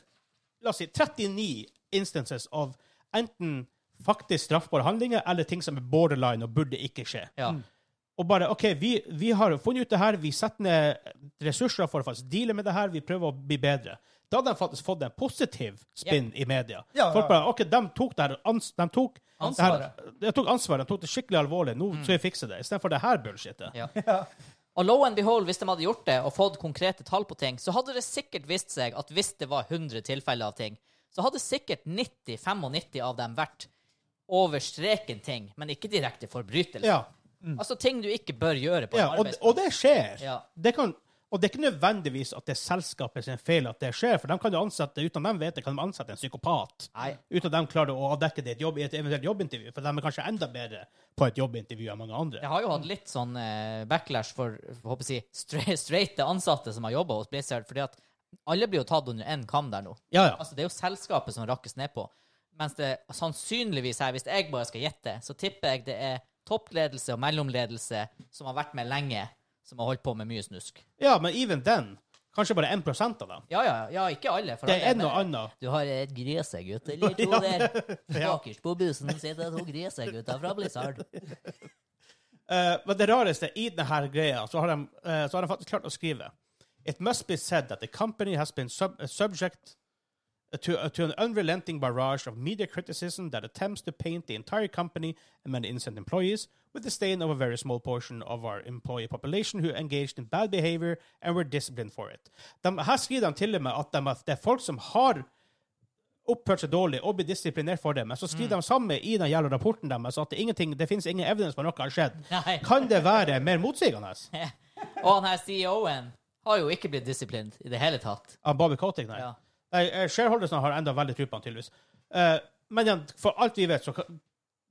S1: la oss si, 39 instances av enten faktisk straffbare handlinger eller ting som er borderline og burde ikke skje.
S4: Ja.
S1: Og bare OK, vi, vi har funnet ut det her, vi setter ned ressurser for å faktisk deale med det her, vi prøver å bli bedre. Da hadde de faktisk fått en positiv spinn i media.
S3: Ja, ja.
S1: Folk bare OK, de tok det her ans, de tok
S4: Ansvaret. Mm.
S1: Det her, de tok ansvaret. De tok det skikkelig alvorlig. Nå skal vi fikse det. Istedenfor det her bullshitet. [LAUGHS]
S4: Ja. Og low and behold, hvis de hadde gjort det og fått konkrete tall på ting, så hadde det sikkert vist seg at hvis det var 100 tilfeller av ting, så hadde sikkert 90-95 av dem vært over streken ting, men ikke direkte forbrytelser.
S1: Ja.
S4: Altså ting du ikke bør gjøre på en
S1: Ja, og,
S4: arbeidsplass.
S1: og det skjer.
S4: Ja.
S1: Det kan, og det er ikke nødvendigvis at det er selskapet sin feil at det skjer, for de kan jo ansette, uten at de vet det, kan de ansette en psykopat.
S4: Nei.
S1: Uten at de klarer å avdekke det i et, jobb, i et eventuelt jobbintervju, for de er kanskje enda bedre på et jobbintervju enn mange andre.
S4: Jeg har jo hatt litt sånn eh, backlash for for håper jeg, å si, stre- streite ansatte som har jobba hos Blizzard, fordi at alle blir jo tatt under én kam der nå.
S1: Ja, ja.
S4: Altså, det er jo selskapet som rakkes ned på. Mens det sannsynligvis her, hvis jeg bare skal gjette, så tipper jeg det er toppledelse og mellomledelse som har vært med lenge, som har holdt på med mye snusk.
S1: ja, men even then, kanskje bare 1 av dem.
S4: Ja, ja, ja, ikke alle. For
S1: Det
S4: alle,
S1: er noe annet.
S4: Du har et gresegutt eller
S1: [LAUGHS]
S4: to der. Bakerst på bussen sitter to gresegutter fra Blizzard.
S1: Eh, men det rareste i denne greia, så har, de, eh, så har de faktisk klart å skrive It must be said that the company has been sub uh, subject uh, to, to an unrelenting barrage of media criticism that attempts to paint the entire company and many innocent employees with the stain of a very small portion of our employee population who engaged in bad behavior and were disciplined for it. De, her skriver de til og med at de, at det er folk som har oppført seg dårlig og blir disiplinert for det, men så skriver de samme i den jævla rapporten deres at det, er ingenting- det finnes ingen evidens på at noe har skjedd.
S4: Nei.
S1: Kan det være mer motsigende?
S4: Og han her CEO-en, E har jo ikke blitt disciplined i det hele tatt.
S1: Av Bobby Coating, nei.
S4: Ja.
S1: Nei, eh, Shareholdersene har enda veldig tro på han, tydeligvis. Eh, men igjen, for alt vi vet, så kan,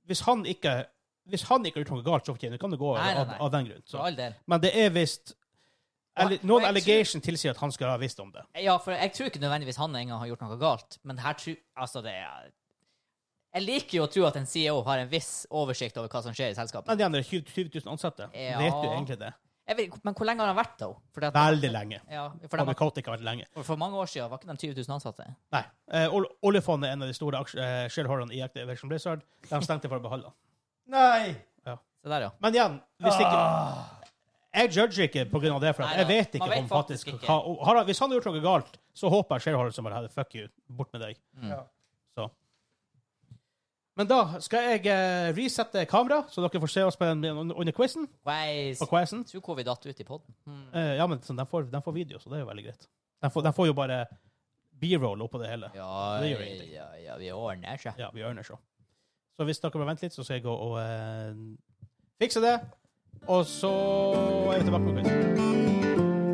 S1: hvis han ikke hvis han ikke har gjort noe galt, så fortjener kan det gå
S4: Nei, nei,
S1: av,
S4: nei.
S1: av den grunn.
S4: For
S1: Så.
S4: all del.
S1: Men det er visst alle-
S4: Og- og
S1: Noen
S4: jeg
S1: allegation tilsier at han skal ha visst om det.
S4: Ja, for jeg tror ikke nødvendigvis han engang har gjort noe galt, men her tror Altså, det er Jeg liker jo å tro at en CEO har en viss oversikt over hva som skjer i selskapet.
S1: Men igjen, det er 20 20 000 ansatte.
S4: Ja.
S1: Vet du egentlig det?
S4: Jeg vet, ikke- men hvor lenge har han vært, da? Fordi at-
S1: Veldig lenge.
S4: Ja, for,
S1: Bobby
S4: de,
S1: Coating har vært lenge.
S4: for- for mange år siden var ikke de 20 000 ansatte.
S1: Nei. Eh, ol- oljefondet er en av de store aksj- eh, shareholderne i Activision Blizzard. De stengte for å beholde han.
S3: Nei!
S4: Se der, ja.
S1: Men igjen, hvis ikke
S3: Ah.
S1: Jeg judger ikke på grunn av det, for at
S4: Nei,
S1: jeg
S4: nei.
S1: vet ikke
S4: Man vet
S1: om faktisk
S4: faktisk ikke.
S1: hva, og har, han- Hvis han har gjort noe galt, så håper jeg shareholder som bare hadde fuck you, bort med deg.
S3: Ja.
S1: Så. Men da skal jeg eh, resette kamera, så dere får se oss på den, under quizen.
S4: Waze.
S1: På quizen.
S4: Tror hvor vi datt ut i poden. Hmm.
S1: Eh, ja, men sånn, de, får, de får video, så det er jo veldig greit. De får, de får jo bare b-roll oppå det hele.
S4: Ja,
S1: Det gjør ingenting.
S4: ja, ja, vi ordner seg.
S1: Ja, vi ordner så. Så hvis dere bare venter litt, så skal jeg gå og eh, fikse det. Og så er vi tilbake på quizen.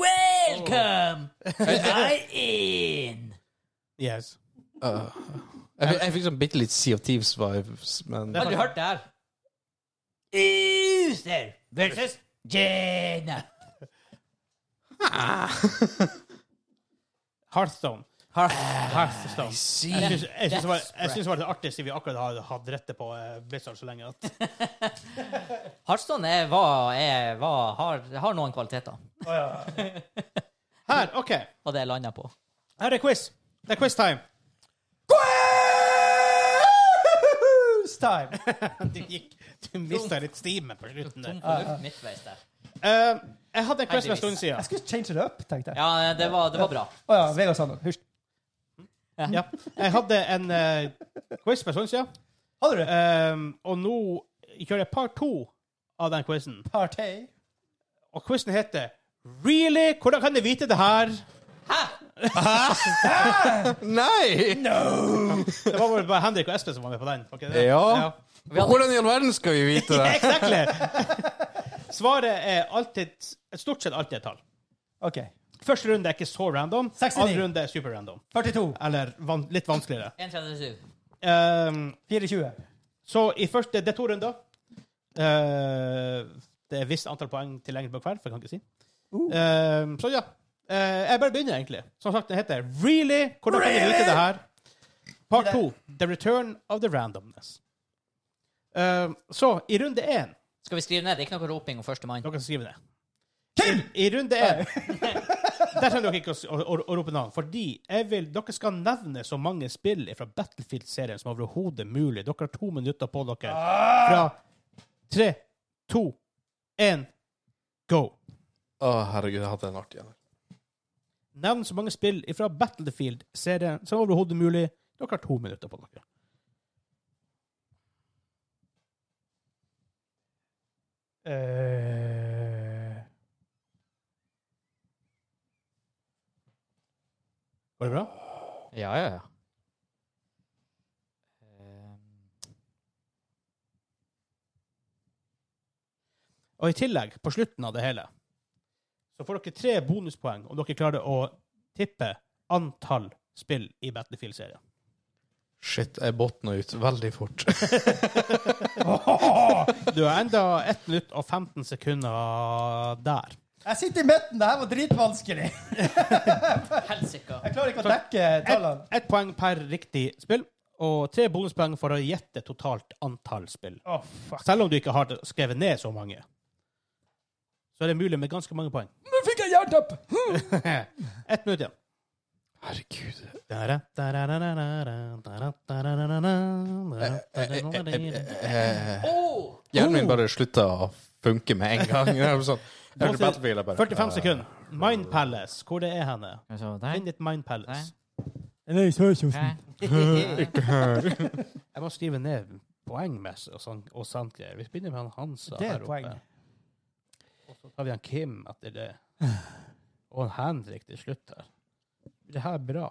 S4: Welcome to my inn!
S1: Yes.
S2: Øh. jeg, fikk- jeg fikk sånn bitte litt Sea of Thieves-vibes, men
S1: Det-
S4: Har du hørt det her? Uther versus Jane.
S1: Hearthstone. Hearthstone. Jeg syns- jeg syns det var- jeg syns det var det artigste vi akkurat har hatt rette på eh, Blizzard så lenge. At,
S4: Heartstone er, var, er, var, har, har noen kvaliteter,
S1: her, OK.
S4: og det landa på.
S1: Her er quiz. Det er quiz time. [LAUGHS]
S3: Quiz time!
S1: Du gikk Du mista litt stimen på slutten der.
S4: Tom på luft midtveis der.
S1: Eh, jeg hadde en quiz for en stund
S3: Jeg
S1: siden.
S3: skulle change det up, tenkte jeg.
S4: Ja, det var, det var bra.
S3: Å ja, Vegard sa noe. Hysj.
S1: Ja. Jeg hadde en eh, quiz for en stund siden,
S3: Hadde du det?
S1: Eh, og nå kjører jeg part to av den quizen.
S3: Partey?
S1: Og quizen heter Really? Hvordan kan jeg vite det her?
S2: Nei!
S1: Det var vel bare Henrik og Espen som var med på den. var ikke det?
S2: Ja. Hvordan i all verden skal vi vite det?
S1: [LAUGHS] Exactly. [LAUGHS] Svaret er alltid stort sett alltid et tall.
S3: OK.
S1: Første runde er ikke så random.
S3: 69.
S1: Andre runde er super random.
S3: 42.
S1: Eller van litt vanskeligere.
S4: 1,37.
S1: Ehm,
S3: 24.
S1: så i første Det er to runder. Eh, det er visst antall poeng tilgjengelig på hver, for jeg kan ikke si. Ehm, så ja. Eh, jeg bare begynner, egentlig. Som sagt, den heter Really? Hvordan kan du vite det her? Part
S3: Really?
S1: to. The return of the randomness. Ehm, så i runde én
S4: Skal vi skrive ned? Det er ikke noe roping om førstemann.
S1: Dere skal skrive det.
S3: Kim!
S1: I runde én [LAUGHS] Der trenger dere ikke å, å, å, å rope navn, fordi jeg vil, dere skal nevne så mange spill fra Battlefield-serien som overhodet mulig. Dere har to minutter på dere. Fra tre, to, én, go.
S2: Å, herregud, jeg hadde en artig en.
S1: Nevn så mange spill fra Battlefield-serien som overhodet mulig. Dere har to minutter på dere.
S3: Eh,
S1: Går det bra?
S4: Ja, ja, ja.
S1: Og i tillegg, på slutten av det hele, så får dere tre bonuspoeng om dere klarer å tippe antall spill i Battlefield-serien.
S2: Shit, jeg botna ut veldig fort.
S1: Du har enda 1 minutt og 15 sekunder der.
S3: jeg sitter i midten. Det her var dritvanskelig.
S4: Helsika.
S3: Jeg klarer ikke å dekke tallene.
S1: Ett poeng per riktig spill, og tre bonuspoeng for å gjette totalt antall spill.
S3: Å, fuck.
S1: Selv om du ikke har skrevet ned så mange, så er det mulig med ganske mange poeng.
S3: Nå fikk jeg Hm. jerntepp!
S1: Ett minutt igjen.
S2: Herregud.
S4: Oh!
S2: Hjernen min bare slutta å funke med en gang. [LAUGHS] Jeg var sånn, jeg hørte Battlefield, jeg bare
S1: 45 sekunder. Mind Palace. Hvor Altså, det er henne? Finn ditt Mind Palace. Jeg må skrive ned poengmessig og sånn. Og sånt greier. Vi begynner med han Hansa
S3: Det er
S1: her oppe.
S3: poeng.
S1: Og så tar vi han Kim
S3: [SIGHS]
S1: etter det. Og han Henrik til slutt her. Det her er bra.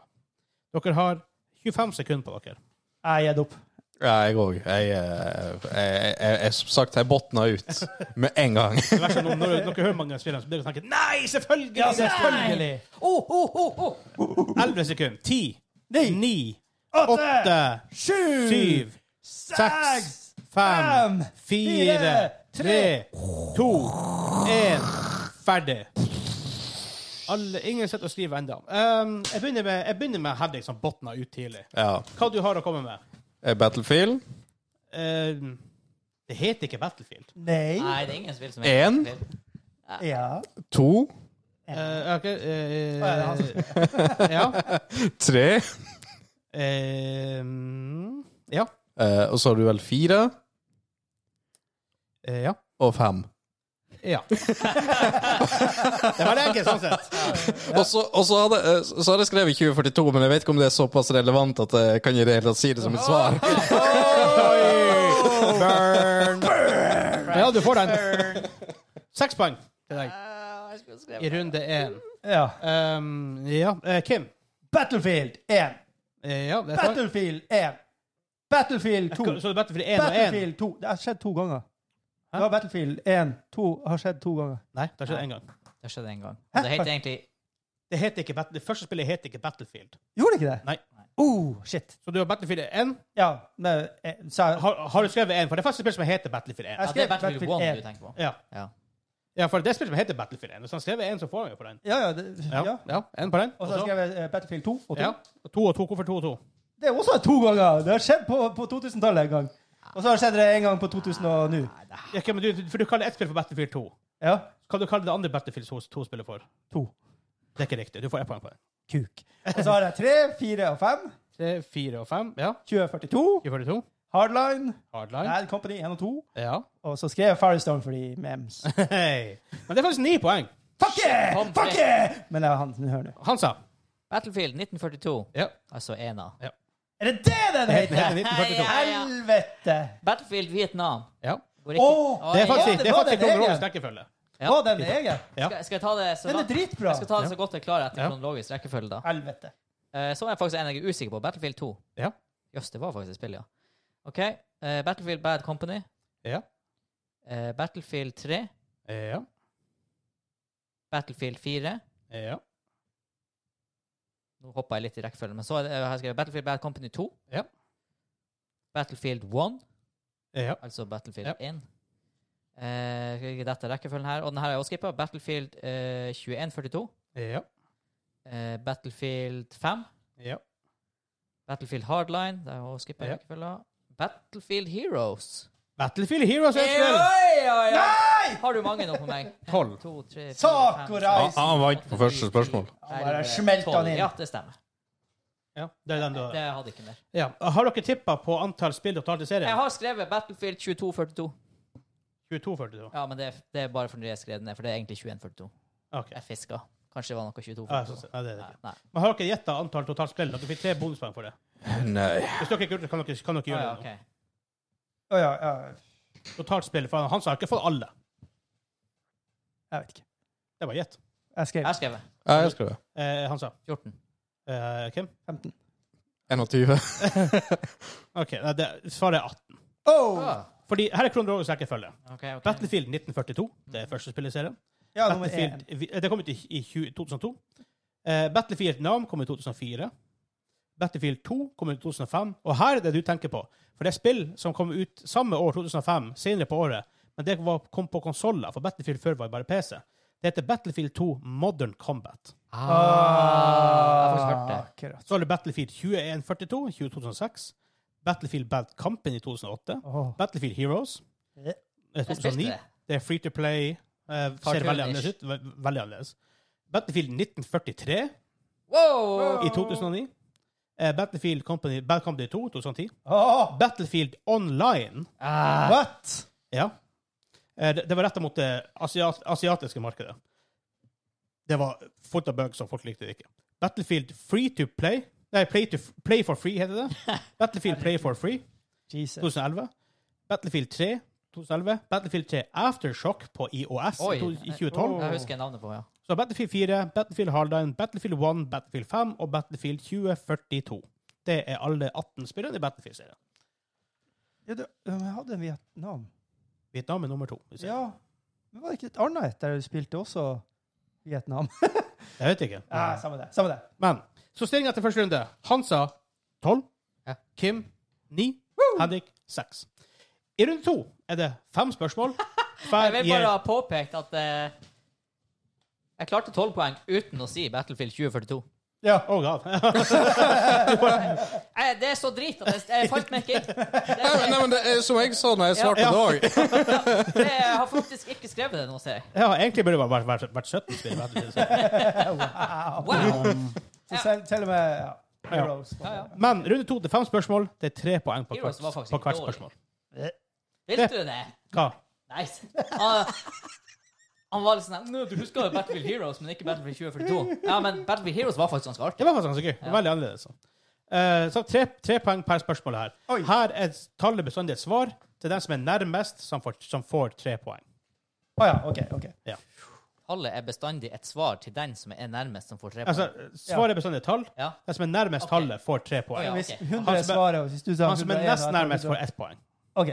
S1: Dere har 25 sekunder på dere.
S3: Jeg gir det opp.
S2: Ja, jeg òg. Jeg, eh, jeg, jeg, jeg, jeg, som sagt, jeg botna ut [LAUGHS] med en gang.
S1: Det verste er når, når dere hører mange spillere, så blir dere tenker Nei, selvfølgelig!
S3: Ja, selvfølgelig.
S4: Oh, oh, oh, oh.
S1: 11 sekunder. 10,
S3: Ni,
S1: 9,
S3: åtte,
S1: 8,
S3: sju,
S1: 7,
S3: seks,
S1: 5,
S3: fem,
S1: 4,
S3: fire,
S1: 3, 2, 1 Ferdig. Alle, ingen sitter og skriver ennå. Um, jeg begynner med, jeg begynner med Henrik som botna ut tidlig.
S2: Ja.
S1: Hva du har å komme med?
S2: Eh, Battlefield
S1: Um, det heter ikke Battlefield.
S3: Nei.
S4: [LAUGHS] Nei, det er ingen spill som
S2: En?
S4: spill.
S3: Ja.
S2: 2,
S1: Uh, ok, uh,
S3: Hva er det han som-
S1: [LAUGHS] ja.
S2: 3
S1: Um, ja.
S2: eh, Og så har du vel 4
S1: Eh, ja.
S2: og 5.
S1: Ja. det var [LAUGHS] det ikke, sånn sett.
S2: Og så og så hadde, eh, så hadde jeg skrevet 2042, men jeg vet ikke om det er såpass relevant at jeg kan i det hele tatt si det som et svar.
S1: Burn. Ja, du får den. Seks poeng til deg
S4: Ah, jeg skulle skrevet
S1: i runde én.
S3: ja.
S1: Um, ja, eh, Kim.
S3: Battlefield 1.
S1: Eh, ja, det er svar.
S3: Battlefield 1. Battlefield 2.
S1: Så det er Battlefield 1 og 1?
S3: Battlefield 2. Det har skjedd to ganger. Det var Battlefield 1, 2 har skjedd to ganger.
S1: Nei, det har skjedd én gang.
S4: Det skjedde en gang. Og det heter egentlig
S1: Det, heter ikke Bat- det første spillet heter ikke Battlefield.
S3: Gjorde det ikke det?
S1: Nei.
S3: Oh, shit.
S1: Så du har Battlefield 1.
S3: Ja, nei, eh, sa jeg
S1: Har, har du skrevet 1? For det er første spillet som heter Battlefield 1.
S3: Jeg
S4: ja, Det
S3: skrev
S4: er Battlefield
S3: Battlefield
S4: 1
S3: 1.
S4: du tenker på.
S1: Ja,
S4: Ja.
S1: ja for det er spillet som heter Battlefield 1. Hvis han skrev 1, så får han jo på den.
S3: Ja, ja. Det, ja.
S1: Ja, ja. En på den.
S3: Og så har jeg skrevet eh, Battlefield 2 og 2.
S1: ja. Og to og to. Hvorfor to og to?
S3: Det er også to ganger. Det har skjedd på, på 2000-tallet en gang. Og så har det skjedd det en gang på 2000 og nå.
S1: Ja, ok, men du, for du kaller ett spill for Battlefield 2.
S3: Ja.
S1: Hva du kaller det andre Battlefield 2-spillet for?
S3: To.
S1: Det er ikke riktig. Du får ett poeng på det.
S3: Kuk. Og så har jeg 3, 4 og 5.
S1: Tre, fire og fem. Ja.
S3: 2042.
S1: 2042.
S3: Hardline.
S1: Hardline.
S3: Bad Company 1 og 2.
S1: Ja.
S3: Og så skrev jeg Firestone for de memes.
S1: Hei. Men det er faktisk ni poeng.
S3: Fuck yeah! Fuck yeah! Men det er han som hører nå.
S1: Hansa.
S4: Battlefield 1942.
S1: Ja.
S4: Altså ena.
S3: Er det det den
S1: Det heter
S3: heter?
S1: 1942.
S4: Hei, ja.
S3: Helvete!
S4: Battlefield Vietnam.
S1: Ja.
S4: Går
S3: Å!
S4: ikke- Oi,
S1: Det er faktisk,
S3: det
S1: det er
S3: var
S1: faktisk
S3: det jeg-
S1: kronologisk rekkefølge.
S4: Ja.
S3: Å, den er jeg.
S1: Ja.
S4: Skal, skal jeg ta det så
S3: Den er
S4: langt?
S3: dritbra.
S4: Jeg skal ta det så godt jeg klarer etter
S1: Ja.
S4: kronologisk rekkefølge, da.
S3: Helvete.
S4: Eh, Så er jeg faktisk en jeg er usikker på. Battlefield 2.
S1: Ja.
S4: Jøss, det var faktisk et spill, ja. OK. eh, Battlefield Bad Company.
S1: Ja.
S4: eh, Battlefield 3.
S1: Ja.
S4: Battlefield 4.
S1: Ja.
S4: Nå hoppa jeg litt i rekkefølgen, men så er det, jeg har jeg skrevet Battlefield Bad Company 2.
S1: Ja.
S4: Battlefield 1,
S1: Ja.
S4: altså Battlefield
S1: Ja.
S4: 1. Eh, skal ikke dette rekkefølgen her. Og den her har jeg også skippa. Battlefield eh, 2142.
S1: Ja.
S4: Eh, Battlefield 5.
S1: Ja.
S4: Battlefield Hardline. Der har jeg også skippa
S1: Ja.
S4: rekkefølgen. Battlefield Heroes.
S1: Battlefield Heroes er et
S4: Oi,
S1: spill.
S4: oi, oi.
S3: Nei!
S4: Har du mange nå på meg?
S1: [LAUGHS] Tolv.
S4: En, to, tre, fire,
S3: Sakura!
S4: fem,
S2: Han, han vant på første spørsmål.
S4: seks,
S3: Han bare
S4: elleve,
S3: smelte
S4: tolv.
S3: han inn.
S4: Ja, det stemmer.
S1: Ja, det er den du har.
S4: Det hadde ikke mer.
S1: Ja. Har dere tippa på antall spill dere tar til
S4: Jeg
S1: serien?
S4: har skrevet Battlefield 2242.
S1: 2242.
S4: Ja, men det, det er bare fordi jeg skrev den ned, for det er egentlig 2142.
S1: Ok.
S4: Jeg fiska. Kanskje det var noe 22
S1: Ja, så- så- Nei, det er det
S4: Nei,
S1: ikke.
S4: nei.
S1: Men har dere gjetta antall totalt spill? Dere fikk tre bonuspoeng for det.
S2: Ah. Nei.
S1: Hvis dere ikke gjorde det, kan dere, kan dere
S4: Ah,
S1: gjøre
S4: ja,
S1: det. nå.
S4: ok.
S3: Å ja, ja.
S1: Totalt spill. For han sa ikke for alle.
S3: Jeg vet ikke.
S1: Det var gjett.
S3: Jeg skrev
S4: Jeg har skrevet
S2: Ja, jeg skrev det.
S1: Eh, han sa.
S4: 14.
S1: Eh, Kim?
S3: 15.
S2: 21.
S1: OK, nei, det, svaret er 18.
S3: Oh!
S1: Fordi her er kronologisk rekkefølge.
S4: Ok, ok.
S1: Battlefield 1942, det er første spillet i serien.
S3: Ja, nummer én.
S1: Battlefield, vi- det kom ut i, i 20 2002. Eh, Battlefield Vietnam kom i 2004. Battlefield 2 kom ut i 2005. Og her er det du tenker på. For det er spill som kom ut samme år, 2005, senere på året. Men det var, kom på konsoller, for Battlefield før var jo bare PC. Det heter Battlefield 2 Modern Combat.
S4: Ah, jeg har faktisk hørt
S3: Ah,
S4: det.
S3: akkurat.
S1: Så har du Battlefield 2142 i 2006. Battlefield Bad Company i 2008.
S3: Åh.
S1: Battlefield Heroes
S3: Ja.
S1: eh,
S4: Jeg spilte
S1: 2009.
S4: det.
S1: Det er free to play. eh, ser veldig
S4: Cartoonish.
S1: annerledes ut. Ve- Veldig annerledes. Battlefield 1943 Ah.
S4: Wow!
S1: i 2009. Eh, Battlefield Company, Bad Company 2 2010.
S3: Åh,
S1: Battlefield Online.
S4: Ah,
S3: What?
S1: Ja. Eh, det, det var retta mot det asiat, asiatiske markedet. Det var fullt av bugs, og folk likte det ikke. Battlefield Free to Play. Nei, Play, to,
S4: [LAUGHS]
S1: play for Free heter det. Battlefield Play for Free
S3: Jesus.
S1: 2011. Battlefield 3, 2011. Battlefield 3 Aftershock på IOS
S4: Oi.
S1: i to- i 2012.
S4: Jeg husker navnet på, ja.
S1: Så Battlefield 4, Battlefield Hardline, Battlefield 1, Battlefield 5 og Battlefield 2042. Det er alle 18 spillene i Battlefield-serien.
S3: Ja, du, jeg hadde en Vietnam.
S1: Vietnam er nummer to. hvis jeg-
S3: Ja. Men var det ikke et annet et der du spilte også Vietnam?
S1: Jeg vet ikke.
S3: [LAUGHS] Ja, samme det. Samme det.
S1: Men så stillinga til første runde. Hansa 12.
S4: Ja.
S1: Kim 9. Henrik 6. I runde to er det fem
S4: [LAUGHS]
S1: spørsmål.
S4: Jeg
S1: Hver
S4: vil bare
S1: gir
S4: ha påpekt at eh, jeg klarte 12 poeng uten å si Battlefield 2042.
S1: Ja, oh god.
S4: Eh, det er så drit at jeg, jeg falt meg [LAUGHS] ikke inn.
S2: Nei, men- nei, men det er som jeg sa når jeg svarte
S1: Ja.
S2: det òg.
S4: Det, jeg har faktisk ikke skrevet det nå, ser jeg.
S1: [LAUGHS] ja, egentlig burde det bare vært, vært 17 spill. vet du.
S4: Wow!
S3: Så
S4: Ja.
S3: selv, til og med ja. Heroes.
S4: Ja, ja.
S1: Men runde to til fem spørsmål. Det er tre poeng på
S4: Heroes
S1: hvert,
S4: var faktisk
S1: på hvert
S4: dårlig.
S1: spørsmål.
S4: Vil du det?
S1: Hva?
S4: Nice. Han, han var litt sånn Nå, du husker jo Battlefield Heroes, men ikke Battlefield 2042. Ja, men Battlefield Heroes var faktisk ganske artig.
S1: Det var faktisk ganske gøy. Det var Veldig annerledes. sånn. Eh, så tre, tre poeng per spørsmål her.
S3: Oi.
S1: Her er tallet bestandig et svar til den som er nærmest, som får, som får tre poeng.
S3: Å ja, OK. ok.
S4: Tallet er bestandig et svar til den som er nærmest, som får tre
S1: Altså,
S4: poeng.
S1: svaret er bestandig et tall.
S4: Ja.
S1: Den som er nærmest
S4: Ok.
S1: tallet, får tre poeng.
S4: Å, ja.
S3: Hvis
S4: ok.
S3: 100
S1: Han som er-
S3: svarer, og hvis du sa
S1: Han som er
S3: 101,
S1: nærmest
S3: og jeg tror
S1: nærmest,
S3: du-
S1: får ett poeng.
S3: OK.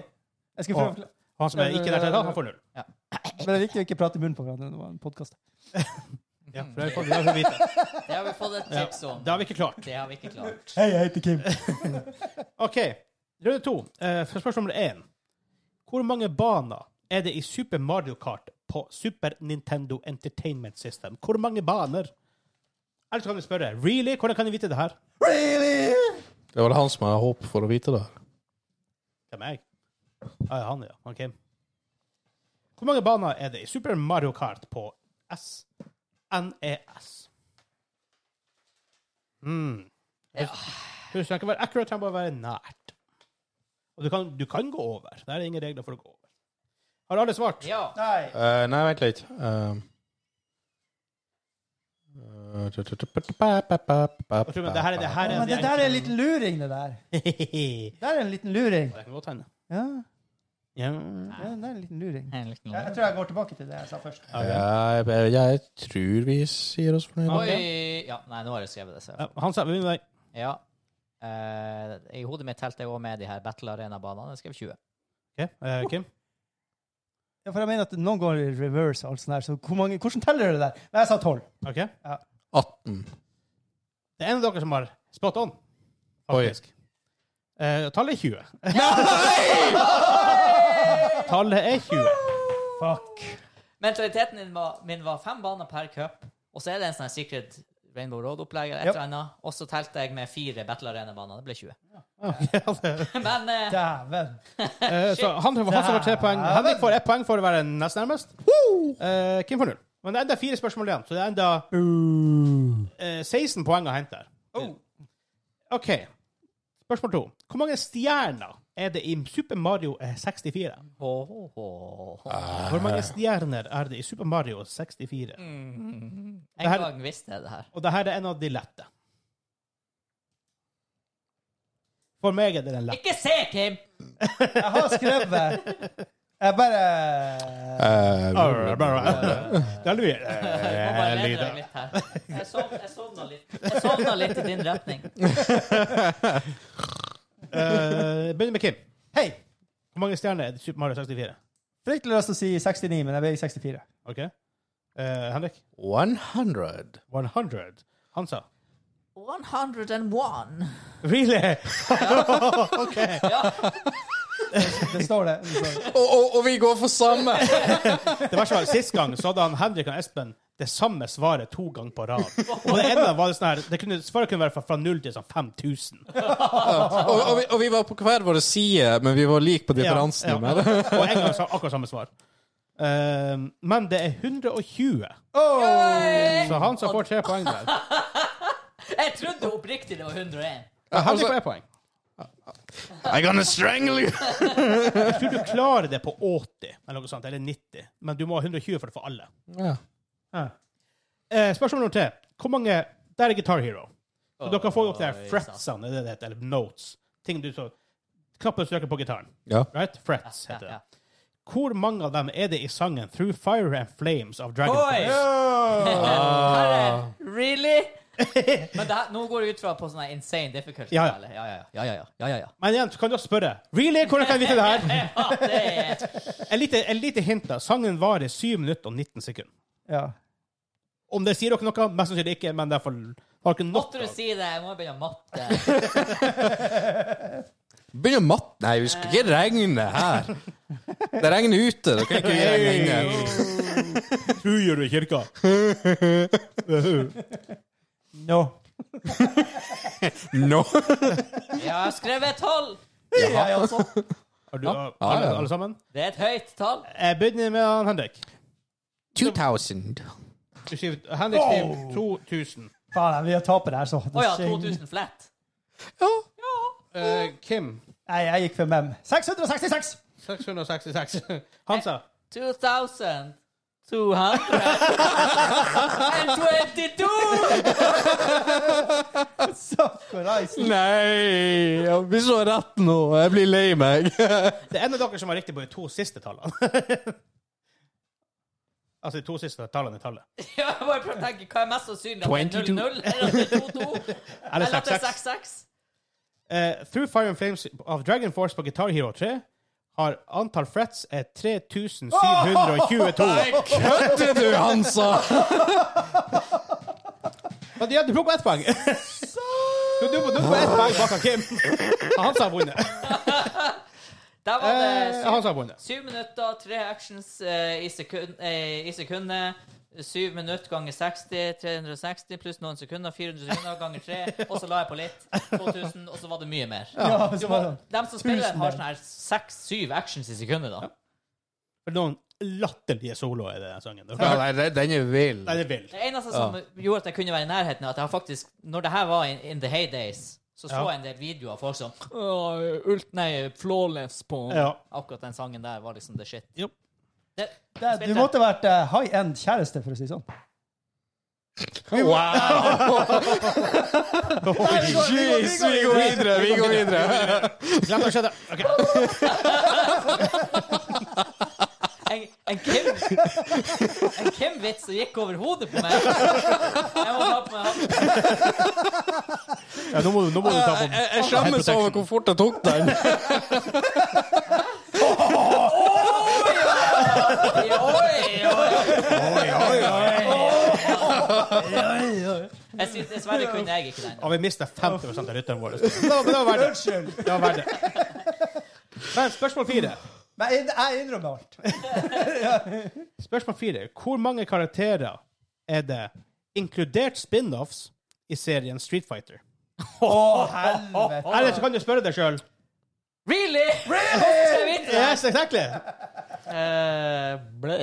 S3: Jeg skal prøve å forklare.
S1: Og han som er ikke nær til et tall, han får null.
S3: Men det er viktig å ikke prate i munnen på hverandre når man podkaster.
S1: Ja, for det har vi fått- det har vi fått vite.
S4: Det har vi fått et tips om.
S1: Det har vi ikke klart.
S4: Det har vi ikke klart.
S3: Hei, jeg heter Kim.
S1: OK. Runde to. Eh, for spørsmål én. Hvor mange baner er det i Super Mario Kart på Super Nintendo Entertainment System? Hvor mange baner? Eller så kan vi spørre Really? Hvordan kan vi vite det her?
S3: Really?
S2: Det var han som hadde håp for å vite det.
S1: Hvem er jeg? Ah, ja, han, ja. Ok. Hvor mange baner er det i Super Mario Kart på E SNES? Mm.
S4: Ja.
S1: Du skal ikke være accurate, han må være nært. Og du kan, du kan gå over. Der er det ingen regler for å gå over. Har alle svart?
S4: Ja.
S3: Nei.
S2: Eh, eh, nei, vent litt. Um,
S1: Jeg tror, men det her er det her er
S3: Men det
S1: de
S3: der er en liten luring, det der.
S1: enkle.
S3: Der er en liten luring.
S1: [LAUGHS] Det kan godt hende.
S3: Ja,
S1: Ja.
S3: ja det er en liten luring.
S4: En liten
S3: Jeg, jeg
S4: låt.
S3: tror jeg går tilbake til det jeg sa først.
S2: Ja, jeg, jeg tror vi sier oss fornøyd.
S1: Ok.
S4: Oi! Ja, nei, nå har jeg skrevet det. Så.
S1: Ja, Han sa vi må-
S4: Ja. Eh, I hodet mitt telte jeg òg med de her Battle Arena-banene. Jeg skrev 20.
S1: Ok, eh, Kim?
S3: Ja, for jeg mener at noen går i reverse og alt sånt der, så hvor mange, hvordan teller du det der? Men jeg sa tolv.
S1: Ok. Det
S2: 18.
S1: er en av dere som har spot on,
S2: Oi.
S1: faktisk. Eh, tallet er 20. Tallet er 20.
S3: Fuck.
S4: Mentaliteten min var, min var fem baner per cup, og så er det en sånn her Secret Rainbow Road-opplegg eller et
S3: Ja.
S4: eller annet, og så telte jeg med fire Battle Arena-baner. Det ble 20.
S1: Ja, det-
S4: [LAUGHS] Men eh,
S3: Dæven.
S1: eh, så han, han som får tre poeng. Henrik får ett poeng for å være nest nærmest. Eh, Kim får null. Men det er enda fire spørsmål igjen, så det er enda eh, 16 poeng å hente her. OK. Spørsmål to. Hvor mange stjerner er det i Super Mario eh, 64?
S4: ho, ho, ho.
S1: Hvor mange stjerner er det i Super Mario 64?
S4: Mm. En
S1: her-
S4: gang visste jeg det her.
S1: Og det her er en av de lette. For meg er det den lette.
S4: Ikke se, Kim!
S3: Jeg har skrevet. Jeg bare
S2: Eh,
S1: [LAUGHS] Det er mye
S4: Jeg må bare
S1: eh,
S4: lede
S1: lyder.
S4: deg litt her. Jeg, sov, jeg sovna litt. Jeg sovna litt i din retning.
S1: Eh, Begynner med Kim.
S3: Hei!
S1: Hvor mange stjerner er det i Super Mario 64?
S3: Fryktelig lyst til å si 69, men jeg ble i 64.
S1: Ok. Eh, Henrik?
S2: 100.
S1: 100. Han sa
S4: 101.
S1: Really?
S4: Ja,
S3: Det står det. Det står det.
S2: Og, og, og vi går for samme!
S1: Det verste var Sist gang så hadde han Henrik og Espen det samme svaret to ganger på rad. Og det ene var det sånn her det kunne, Svaret kunne være fra, fra 0 til sånn 5000.
S2: og, og, vi, og vi var på hver vår side, men vi var like på differansen.
S1: Ja, ja. Og en gang sa akkurat samme svar. Eh, men det er 120, så han som får tre poeng der.
S4: jeg trodde oppriktig det var 101.
S1: Henrik får ett poeng.
S2: I'm gonna strangle you!
S1: Jeg tror du klarer det på 80 eller noe sånt, eller 90, men du må ha 120 for det for alle.
S2: Ja.
S1: Eh, spørsmål nummer tre. Hvor mange Der er Guitar Hero. Så dere får jo opp de her
S4: Oi,
S1: fretsene, er det det heter, eller notes. Ting du så Knappen du trykker på gitaren.
S2: Ja.
S1: Right? Frets
S4: Ja,
S1: heter det.
S4: ja.
S1: Hvor mange av dem er det i sangen Through Fire and Flames av Dragonfly?
S4: Oi! Herre,
S1: [LAUGHS]
S4: really? Men det her, nå går det ut fra på sånn her insane difficulty.
S1: Ja, ja.
S4: eller? ja, ja, ja, ja, ja, ja, ja, ja.
S1: Men igjen, du kan jo spørre. Really? Hvordan kan jeg vite det her?
S4: Ja, det er
S1: En lite, en lite hint da. Sangen varer 7 minutter og 19 sekunder.
S3: Ja.
S1: Om det sier dere noe? Mest sannsynlig ikke, men derfor har dere nok
S4: Måtte du
S1: av-
S4: si det? Jeg må begynne å matte.
S2: Begynner matt... Nei, vi skal ikke regne her. Det regner ute. Det kan ikke vi regne
S1: [LAUGHS]
S2: inne.
S1: Truer du i kirka?
S3: No.
S2: No.
S4: Jeg har skrevet tolv!
S3: Jeg også.
S1: Har du,
S2: Ja. Ja,
S1: alle,
S2: ja.
S1: alle sammen?
S4: Det er et høyt tall.
S1: Jeg begynner med han Henrik.
S2: 2000.
S1: Du skriver, Henrik skriver 2000.
S3: Faen, vi er tapere her, så.
S4: Å ja, 2000 flat.
S2: Ja.
S1: Eh, Kim
S3: Nei, jeg gikk for mem. 666!
S1: 666. [LAUGHS] Hansa.
S4: 2222!
S3: Sakkareisen.
S2: Nei, jeg blir så rett nå. Jeg blir lei meg.
S1: Det er en av dere som har riktig på de to siste tallene. [LAUGHS] altså de to siste tallene i tallet.
S4: Ja, Jeg bare prøver å tenke hva er mest sannsynlig. At det er 00 eller at det er 22?
S1: Eller
S4: Eller at det er
S1: 66.
S4: 66?
S1: Eh, Through Fire and Flames av Dragon Force på Guitar Hero 3 har antall frets er
S2: [LAUGHS]
S1: 3722.
S2: Kødder du, Hansa?
S1: Men ja, du plukker ett poeng. [LAUGHS] Du, du, du får ett poeng bak av Kim. Hans har vunnet.
S4: Der var det
S1: Eh,
S4: syv,
S1: Hans har vunnet.
S4: syv minutter, tre actions eh, i, sekund, eh, i sekundet. Syv minutter ganger 60, 360 pluss noen sekunder, 400 sekunder ganger tre, og så la jeg på litt. 2000, og så var det mye mer.
S3: Ja, altså,
S4: Du
S3: så
S4: må,
S3: var det.
S4: de som spiller,
S3: Tusen
S4: har
S3: der.
S4: sånn her seks-syv actions i sekundet, da.
S1: For noen latterlige soloer i den sangen.
S2: Ja,
S1: Nei,
S2: nei, den- den er vill.
S1: det er vill.
S4: Det eneste som gjorde at jeg kunne være i nærheten, er at jeg faktisk, når det her var in, in the heydays, så så
S1: Ja.
S4: jeg en del videoer av folk som «Åh, ult, Nei, flawless på
S1: Ja.
S4: Akkurat den sangen der var liksom the shit.
S1: Jo.
S4: Det,
S3: Det, du måtte vært eh, high end kjæreste, for å si det sånn.
S2: Wow! Jeez, vi går videre, vi går videre.
S1: Glem det skjedde. Ok.
S4: En, en Kim En Kim-vits som gikk over hodet på meg. Jeg må ta på meg hatten.
S1: Ja, nå, må du, nå må du ta på
S2: Jeg skjemmes over hvor fort jeg tok den.
S4: Oi, oi, oi. Jeg synes Dessverre kunne jeg ikke den.
S1: Ja, vi mista 50 av lytterne
S2: [LAUGHS]
S1: våre. Det var, det var verdt det.
S3: Unnskyld.
S1: det. Var verdt det. Men spørsmål fire.
S3: Men jeg, jeg innrømmer alt.
S1: Spørsmål fire. Hvor mange karakterer er det, inkludert spin-offs, i serien Street Fighter?
S3: Å, helvete.
S1: Eller så kan du spørre deg sjøl.
S4: Really? Really?
S1: Yes, exactly.
S4: Eh, Blø.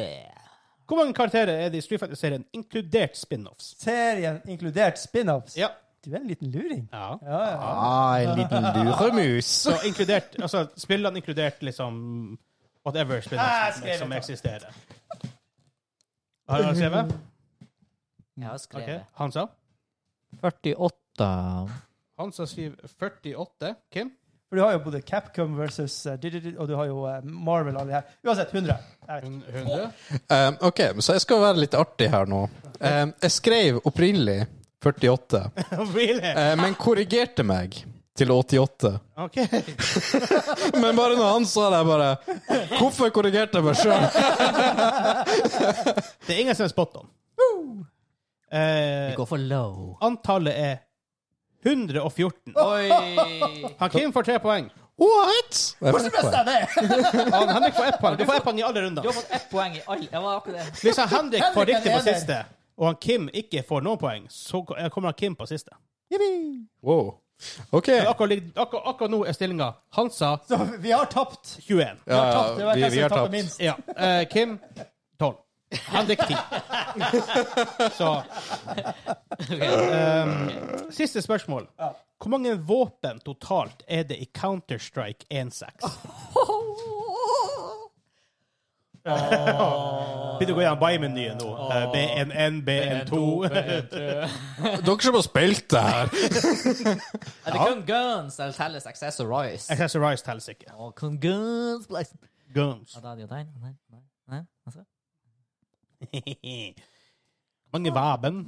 S1: Hvor mange karakterer er det i Street Fighter-serien, inkludert spin-offs?
S3: Serien inkludert spin-offs.
S1: Ja.
S3: Du er en liten luring.
S1: ja.
S3: Ja, ja.
S2: [LAUGHS] Ah, en liten luremus.
S1: Så inkludert Altså, spillene inkludert liksom whatever
S3: Ah,
S1: spin-offs som,
S3: skrevet,
S1: som
S3: ja.
S1: eksisterer. Har du skrevet?
S4: Jeg har
S1: Ok.
S4: skrevet
S1: Hansa?
S4: 48.
S1: Hansa skriver 48. Kim?
S3: For du har jo både Capcom versus eh, DDD, og du har jo eh, Marvel og alle de her. Uansett, 100. Jeg vet ikke.
S1: 100.
S2: Um, ok, så jeg skal være litt artig her nå. Um, jeg skrev opprinnelig 48,
S1: [LAUGHS] really?
S2: eh, men korrigerte meg til 88.
S1: OK.
S2: Men bare når han sa det, jeg bare Hvorfor korrigerte jeg meg sjøl?
S1: Det er ingen som er spot on. Eh,
S4: Gå for low.
S1: antallet er 114.
S4: Oi.
S1: Han Kim får tre poeng.
S2: What?! Jeg fikk
S3: Best
S2: poeng.
S3: av det!
S1: Han Henrik får ett poeng. Du får ett poeng i alle runder.
S4: Du har fått ett poeng i alle. Jeg var akkurat [LAUGHS] det.
S1: Hvis han Henrik får
S3: Henrik er
S1: riktig på
S3: leder.
S1: siste, og han Kim ikke får noen poeng, så kommer han Kim på siste.
S2: Wow. Ok.
S1: Men
S2: Ja,
S1: Akkurat, lig- akkurat, akkurat nå er stillinga Hansa
S3: Så vi har tapt.
S1: 21.
S3: Det
S2: ja,
S3: var
S2: vi,
S3: hvem
S2: vi
S3: som
S2: har
S3: tapte
S2: tapt.
S3: minst.
S1: Ja. Eh, Kim 12. Henrik 10. Så ehm, Siste spørsmål. Hvor mange våpen totalt er det i Counter-Strike 1.6? Vil du gå gjennom Baymenyen nå? Eh, B1N, B1-2 [LAUGHS]
S2: Dere som har spilt det her.
S4: Er det kun guns eller telles accessories?
S1: Accessorize teller ikke.
S4: Og kun guns, please.
S1: Guns.
S4: Ja, da er det jo den. Nei, nei, nei. Altså.
S1: [LAUGHS] Mange våpen.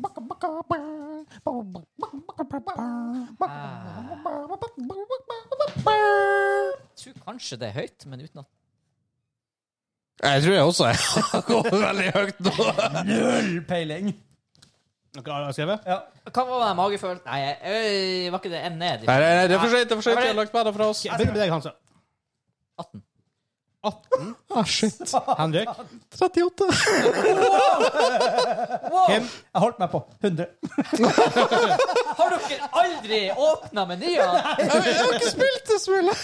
S4: Jeg tror kanskje det er høyt, men uten at
S2: Jeg tror jeg også jeg går veldig høyt nå.
S3: Null peiling!
S1: Noe har jeg skrevet?
S3: Ja.
S4: Hva var det magefølelsen Nei, jeg- øy, var ikke det en ned?
S2: Nei, nei, nei, det er for sent. Det er for sent. Jeg har lagt meg fra oss.
S1: Jeg begynner med deg, Hansa.
S4: 18.
S1: 18.
S2: Ah, shit.
S1: Henrik.
S2: 38.
S1: Kim.
S3: Jeg holdt meg på 100.
S4: Har dere aldri åpna menyer?
S2: Jeg har ikke spilt det spillet.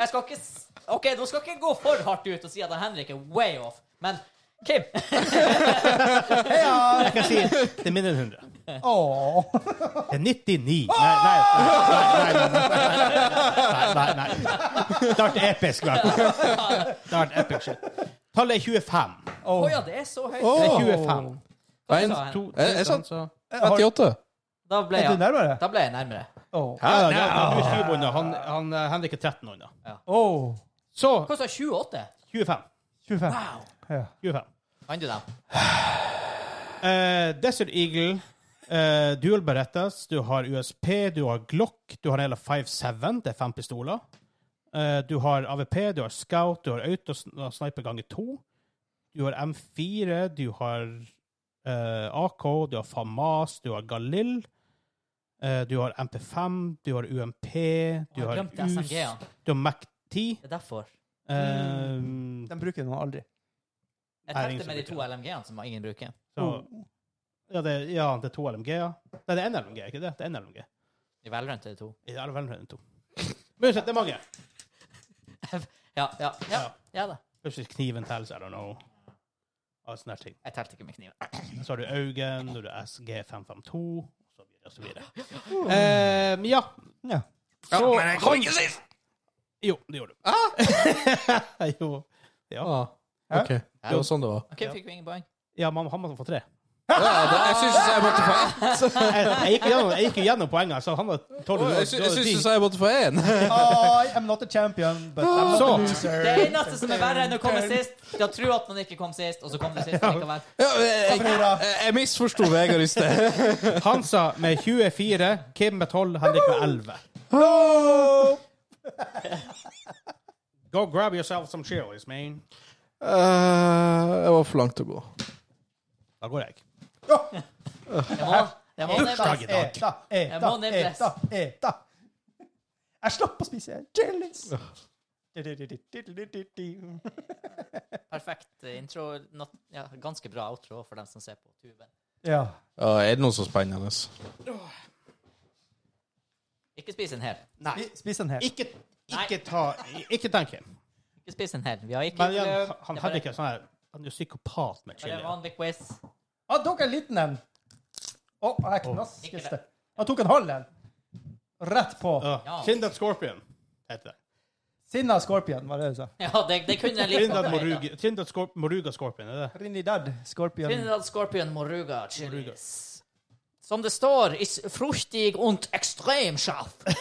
S4: Jeg skal ikke s- OK, nå skal ikke jeg gå for hardt ut og si at Henrik er way off, men Kim
S1: Jeg [LAUGHS] kan si det er mindre enn 100.
S3: Åh.
S1: Det er 99. Nei, nei, nei. Nei, nei, nei. nei, nei, nei. Det har vært episk. vel. Det har vært epic shit. Tallet er 25.
S4: Å ja, det er så
S1: Det
S4: høyt.
S2: Åh.
S1: er 25.
S4: Hva
S2: En,
S4: sa han?
S1: To,
S2: jeg, jeg sa
S1: sånn, så-
S2: 38.
S4: Da ble
S3: Er du
S4: jeg,
S3: nærmere?
S4: da ble jeg nærmere.
S3: Åh.
S1: Ja, ja, ja, du er syv under. Han, han, eh, Henrik er 13 under.
S3: Åh.
S1: Så
S4: Hva sa 28?
S1: 25.
S3: 25.
S4: Wow.
S1: 25.
S4: Kan du dem?
S1: Eh, Desert Eagle, eh, dual berettes, du har USP, du har Glock, du har en hel 5-7, det er fem pistoler. Eh, du har AVP, du har Scout, du har autosniper ganger to. Du har M4, du har eh, AK, du har FAMAS, du har Galil. eh, du har MP5, du har UMP, du
S4: Jeg
S1: har
S4: glemte
S1: US,
S4: SMG-ene.
S1: du har MAC10.
S4: Det er derfor.
S1: eh,
S3: Den bruker man aldri.
S4: Jeg
S1: Nei,
S4: tenkte med de to
S1: ingen
S4: LMG-ene som ingen bruker.
S1: så, ja, det, ja, det er to LMG, ja. Nei, det er én LMG, ikke det? Det er en LMG.
S4: I Valorant er det to.
S1: I alle fall rundt to. Men uansett, det er mange.
S4: Ja, ja, ja, ja da.
S1: Plutselig kniven tells, I don't know. Og sånne her ting.
S4: Jeg telte ikke med kniven.
S1: Så har du Augen, du har du SG552, og så videre og så videre. Eh, men ja.
S3: Ja.
S2: Ja, men jeg kom ikke sist.
S1: Jo, det gjorde du. [LAUGHS] jo.
S2: Ah, ok. Det var sånn det var.
S4: OK, fikk vi ingen poeng?
S1: Ja, man, han måtte få tre.
S2: Ja, det, jeg syns du sa jeg måtte få [LAUGHS]
S1: Jeg,
S2: ett.
S1: jeg, gikk gjennom, jeg gikk jo gjennom poengene, så han var tolv.
S2: Jeg sy- jeg syns du sa jeg måtte få én.
S3: I am not a champion, but I'm not
S1: Så.
S3: a loser.
S4: Det eneste som er verre enn å komme sist, det er å tro at man ikke kom sist, og så kom du sist likevel.
S2: Ja, jeg, jeg, jeg misforsto Vegard i [LAUGHS] sted.
S1: Hansa med 24, Kim med 12, Henrik med 11. Go grab yourself some cheerleaders, man.
S2: Eh, det var for langt å gå.
S1: Da går jeg.
S4: Jeg må, jeg må ned
S1: Bursdag i dag.
S3: Eta,
S4: Jeg
S3: eta,
S4: må ned bless.
S3: eta, eta. Jeg slapp å spise jellies. Hva
S4: Perfekt eh, intro. Not, ja, ganske bra outro for dem som ser på tuben.
S2: Ja, er det noe så spennende?
S4: Ikke spis en hel.
S1: Nei.
S3: Spis en hel.
S1: Ikke, ikke ta Ikke tenk Kim.
S4: Ikke spis en hel. Vi har ikke
S1: Men igjen, han, han
S4: Det er
S1: hadde
S4: bare-
S1: ikke sånn her Han er jo psykopat med
S4: Bare en
S1: chili.
S4: vanlig quiz. [LAUGHS]
S3: Han tok en liten en. Å, jeg
S4: Ikke
S3: knaskes
S4: det.
S3: det. Han tok en halv en. Rett på.
S1: Ja.
S4: Ja.
S1: Kindat Scorpion heter det.
S3: Sinna Scorpion, var det du sa.
S4: Ja, det, det sånn- kunne jeg likt.
S1: Kindat Moruga, Kindat Scorp Moruga Scorpion, er det
S3: Trinidad Scorpion.
S4: Trinidad Scorpion Moruga chilis. Som det står is fruchtig und extrem scharf.
S1: det?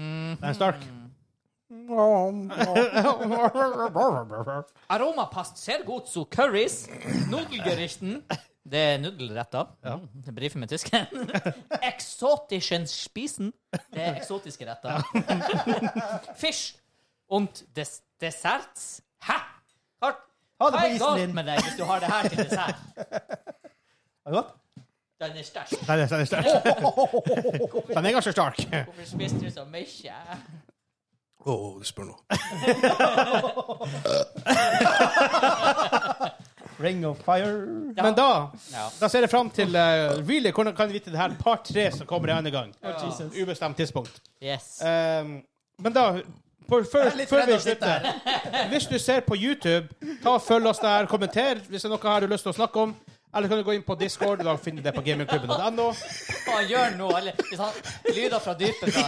S1: er en stark.
S4: Mm. Aromapast ser godt zu curries, nudelgerichten Det er nudelretter. Det Brifer med tysken. [LAUGHS] Exotischen spisen. Det er eksotiske retter. [LAUGHS] Fish und des desserts. Hæ? Hva
S3: Ha det
S4: hva
S3: på
S4: er
S3: isen
S4: galt
S3: din.
S4: med deg hvis du har det her til dessert?
S3: Er det godt?
S4: Den er sterk.
S1: Nei, det er- det er sterk. Den er ganske stark.
S4: Hvorfor spiste du så mye?
S2: Å, du spør nå.
S3: Ring of Fire.
S1: Men da
S4: Ja.
S1: Da ser jeg fram til eh, Really, hvordan kan vi vite det her par tre som kommer en annen gang?
S3: Jesus.
S1: Ubestemt tidspunkt.
S4: Yes.
S1: Um, men da på, før,
S3: litt
S1: før
S3: redd
S1: vi
S3: å sitte
S1: slutter
S3: [LAUGHS]
S1: Hvis du ser på YouTube, ta og følg oss der. Kommenter hvis det er noe her du har lyst til å snakke om. Eller kan du gå inn på Discord. Da finner du det på gamingklubben.no.
S4: Hva han gjør nå? Eller, hvis han lyder fra dypet
S3: [LAUGHS]
S4: fra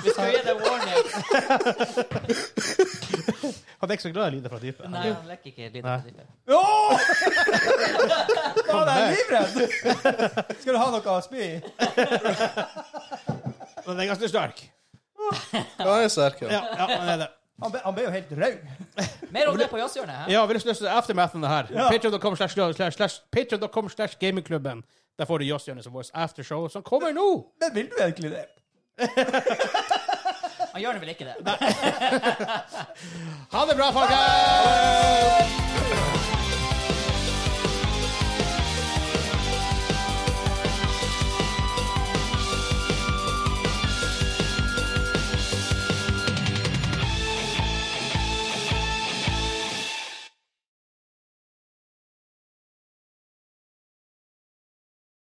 S4: Vi skal gi deg warning.
S1: Han er ikke så glad i lyder fra dypet.
S4: Nei, han lekker ikke lyder fra
S1: Nei.
S4: dypet.
S3: Oh! [LAUGHS] Faen, jeg er livredd! Skal du ha noe å spy i?
S1: Men den er ganske sterk.
S2: Ja, jeg er sterk, ja.
S1: Ja, ja, den er det.
S3: Han ble, han ble jo helt rød.
S4: Mer om det på jazzhjørnet. hæ?
S1: Ja, vi har lyst til aftermathen det her.
S3: Ja.
S1: Patreon.com slash- slash- slash- Patreon.com slash gamingklubben. Der får du Jazzhjørnet som vårt aftershow, som kommer nå!
S3: Men vil du egentlig det?
S4: Han gjør det vel ikke det?
S1: Ha det bra, folkens!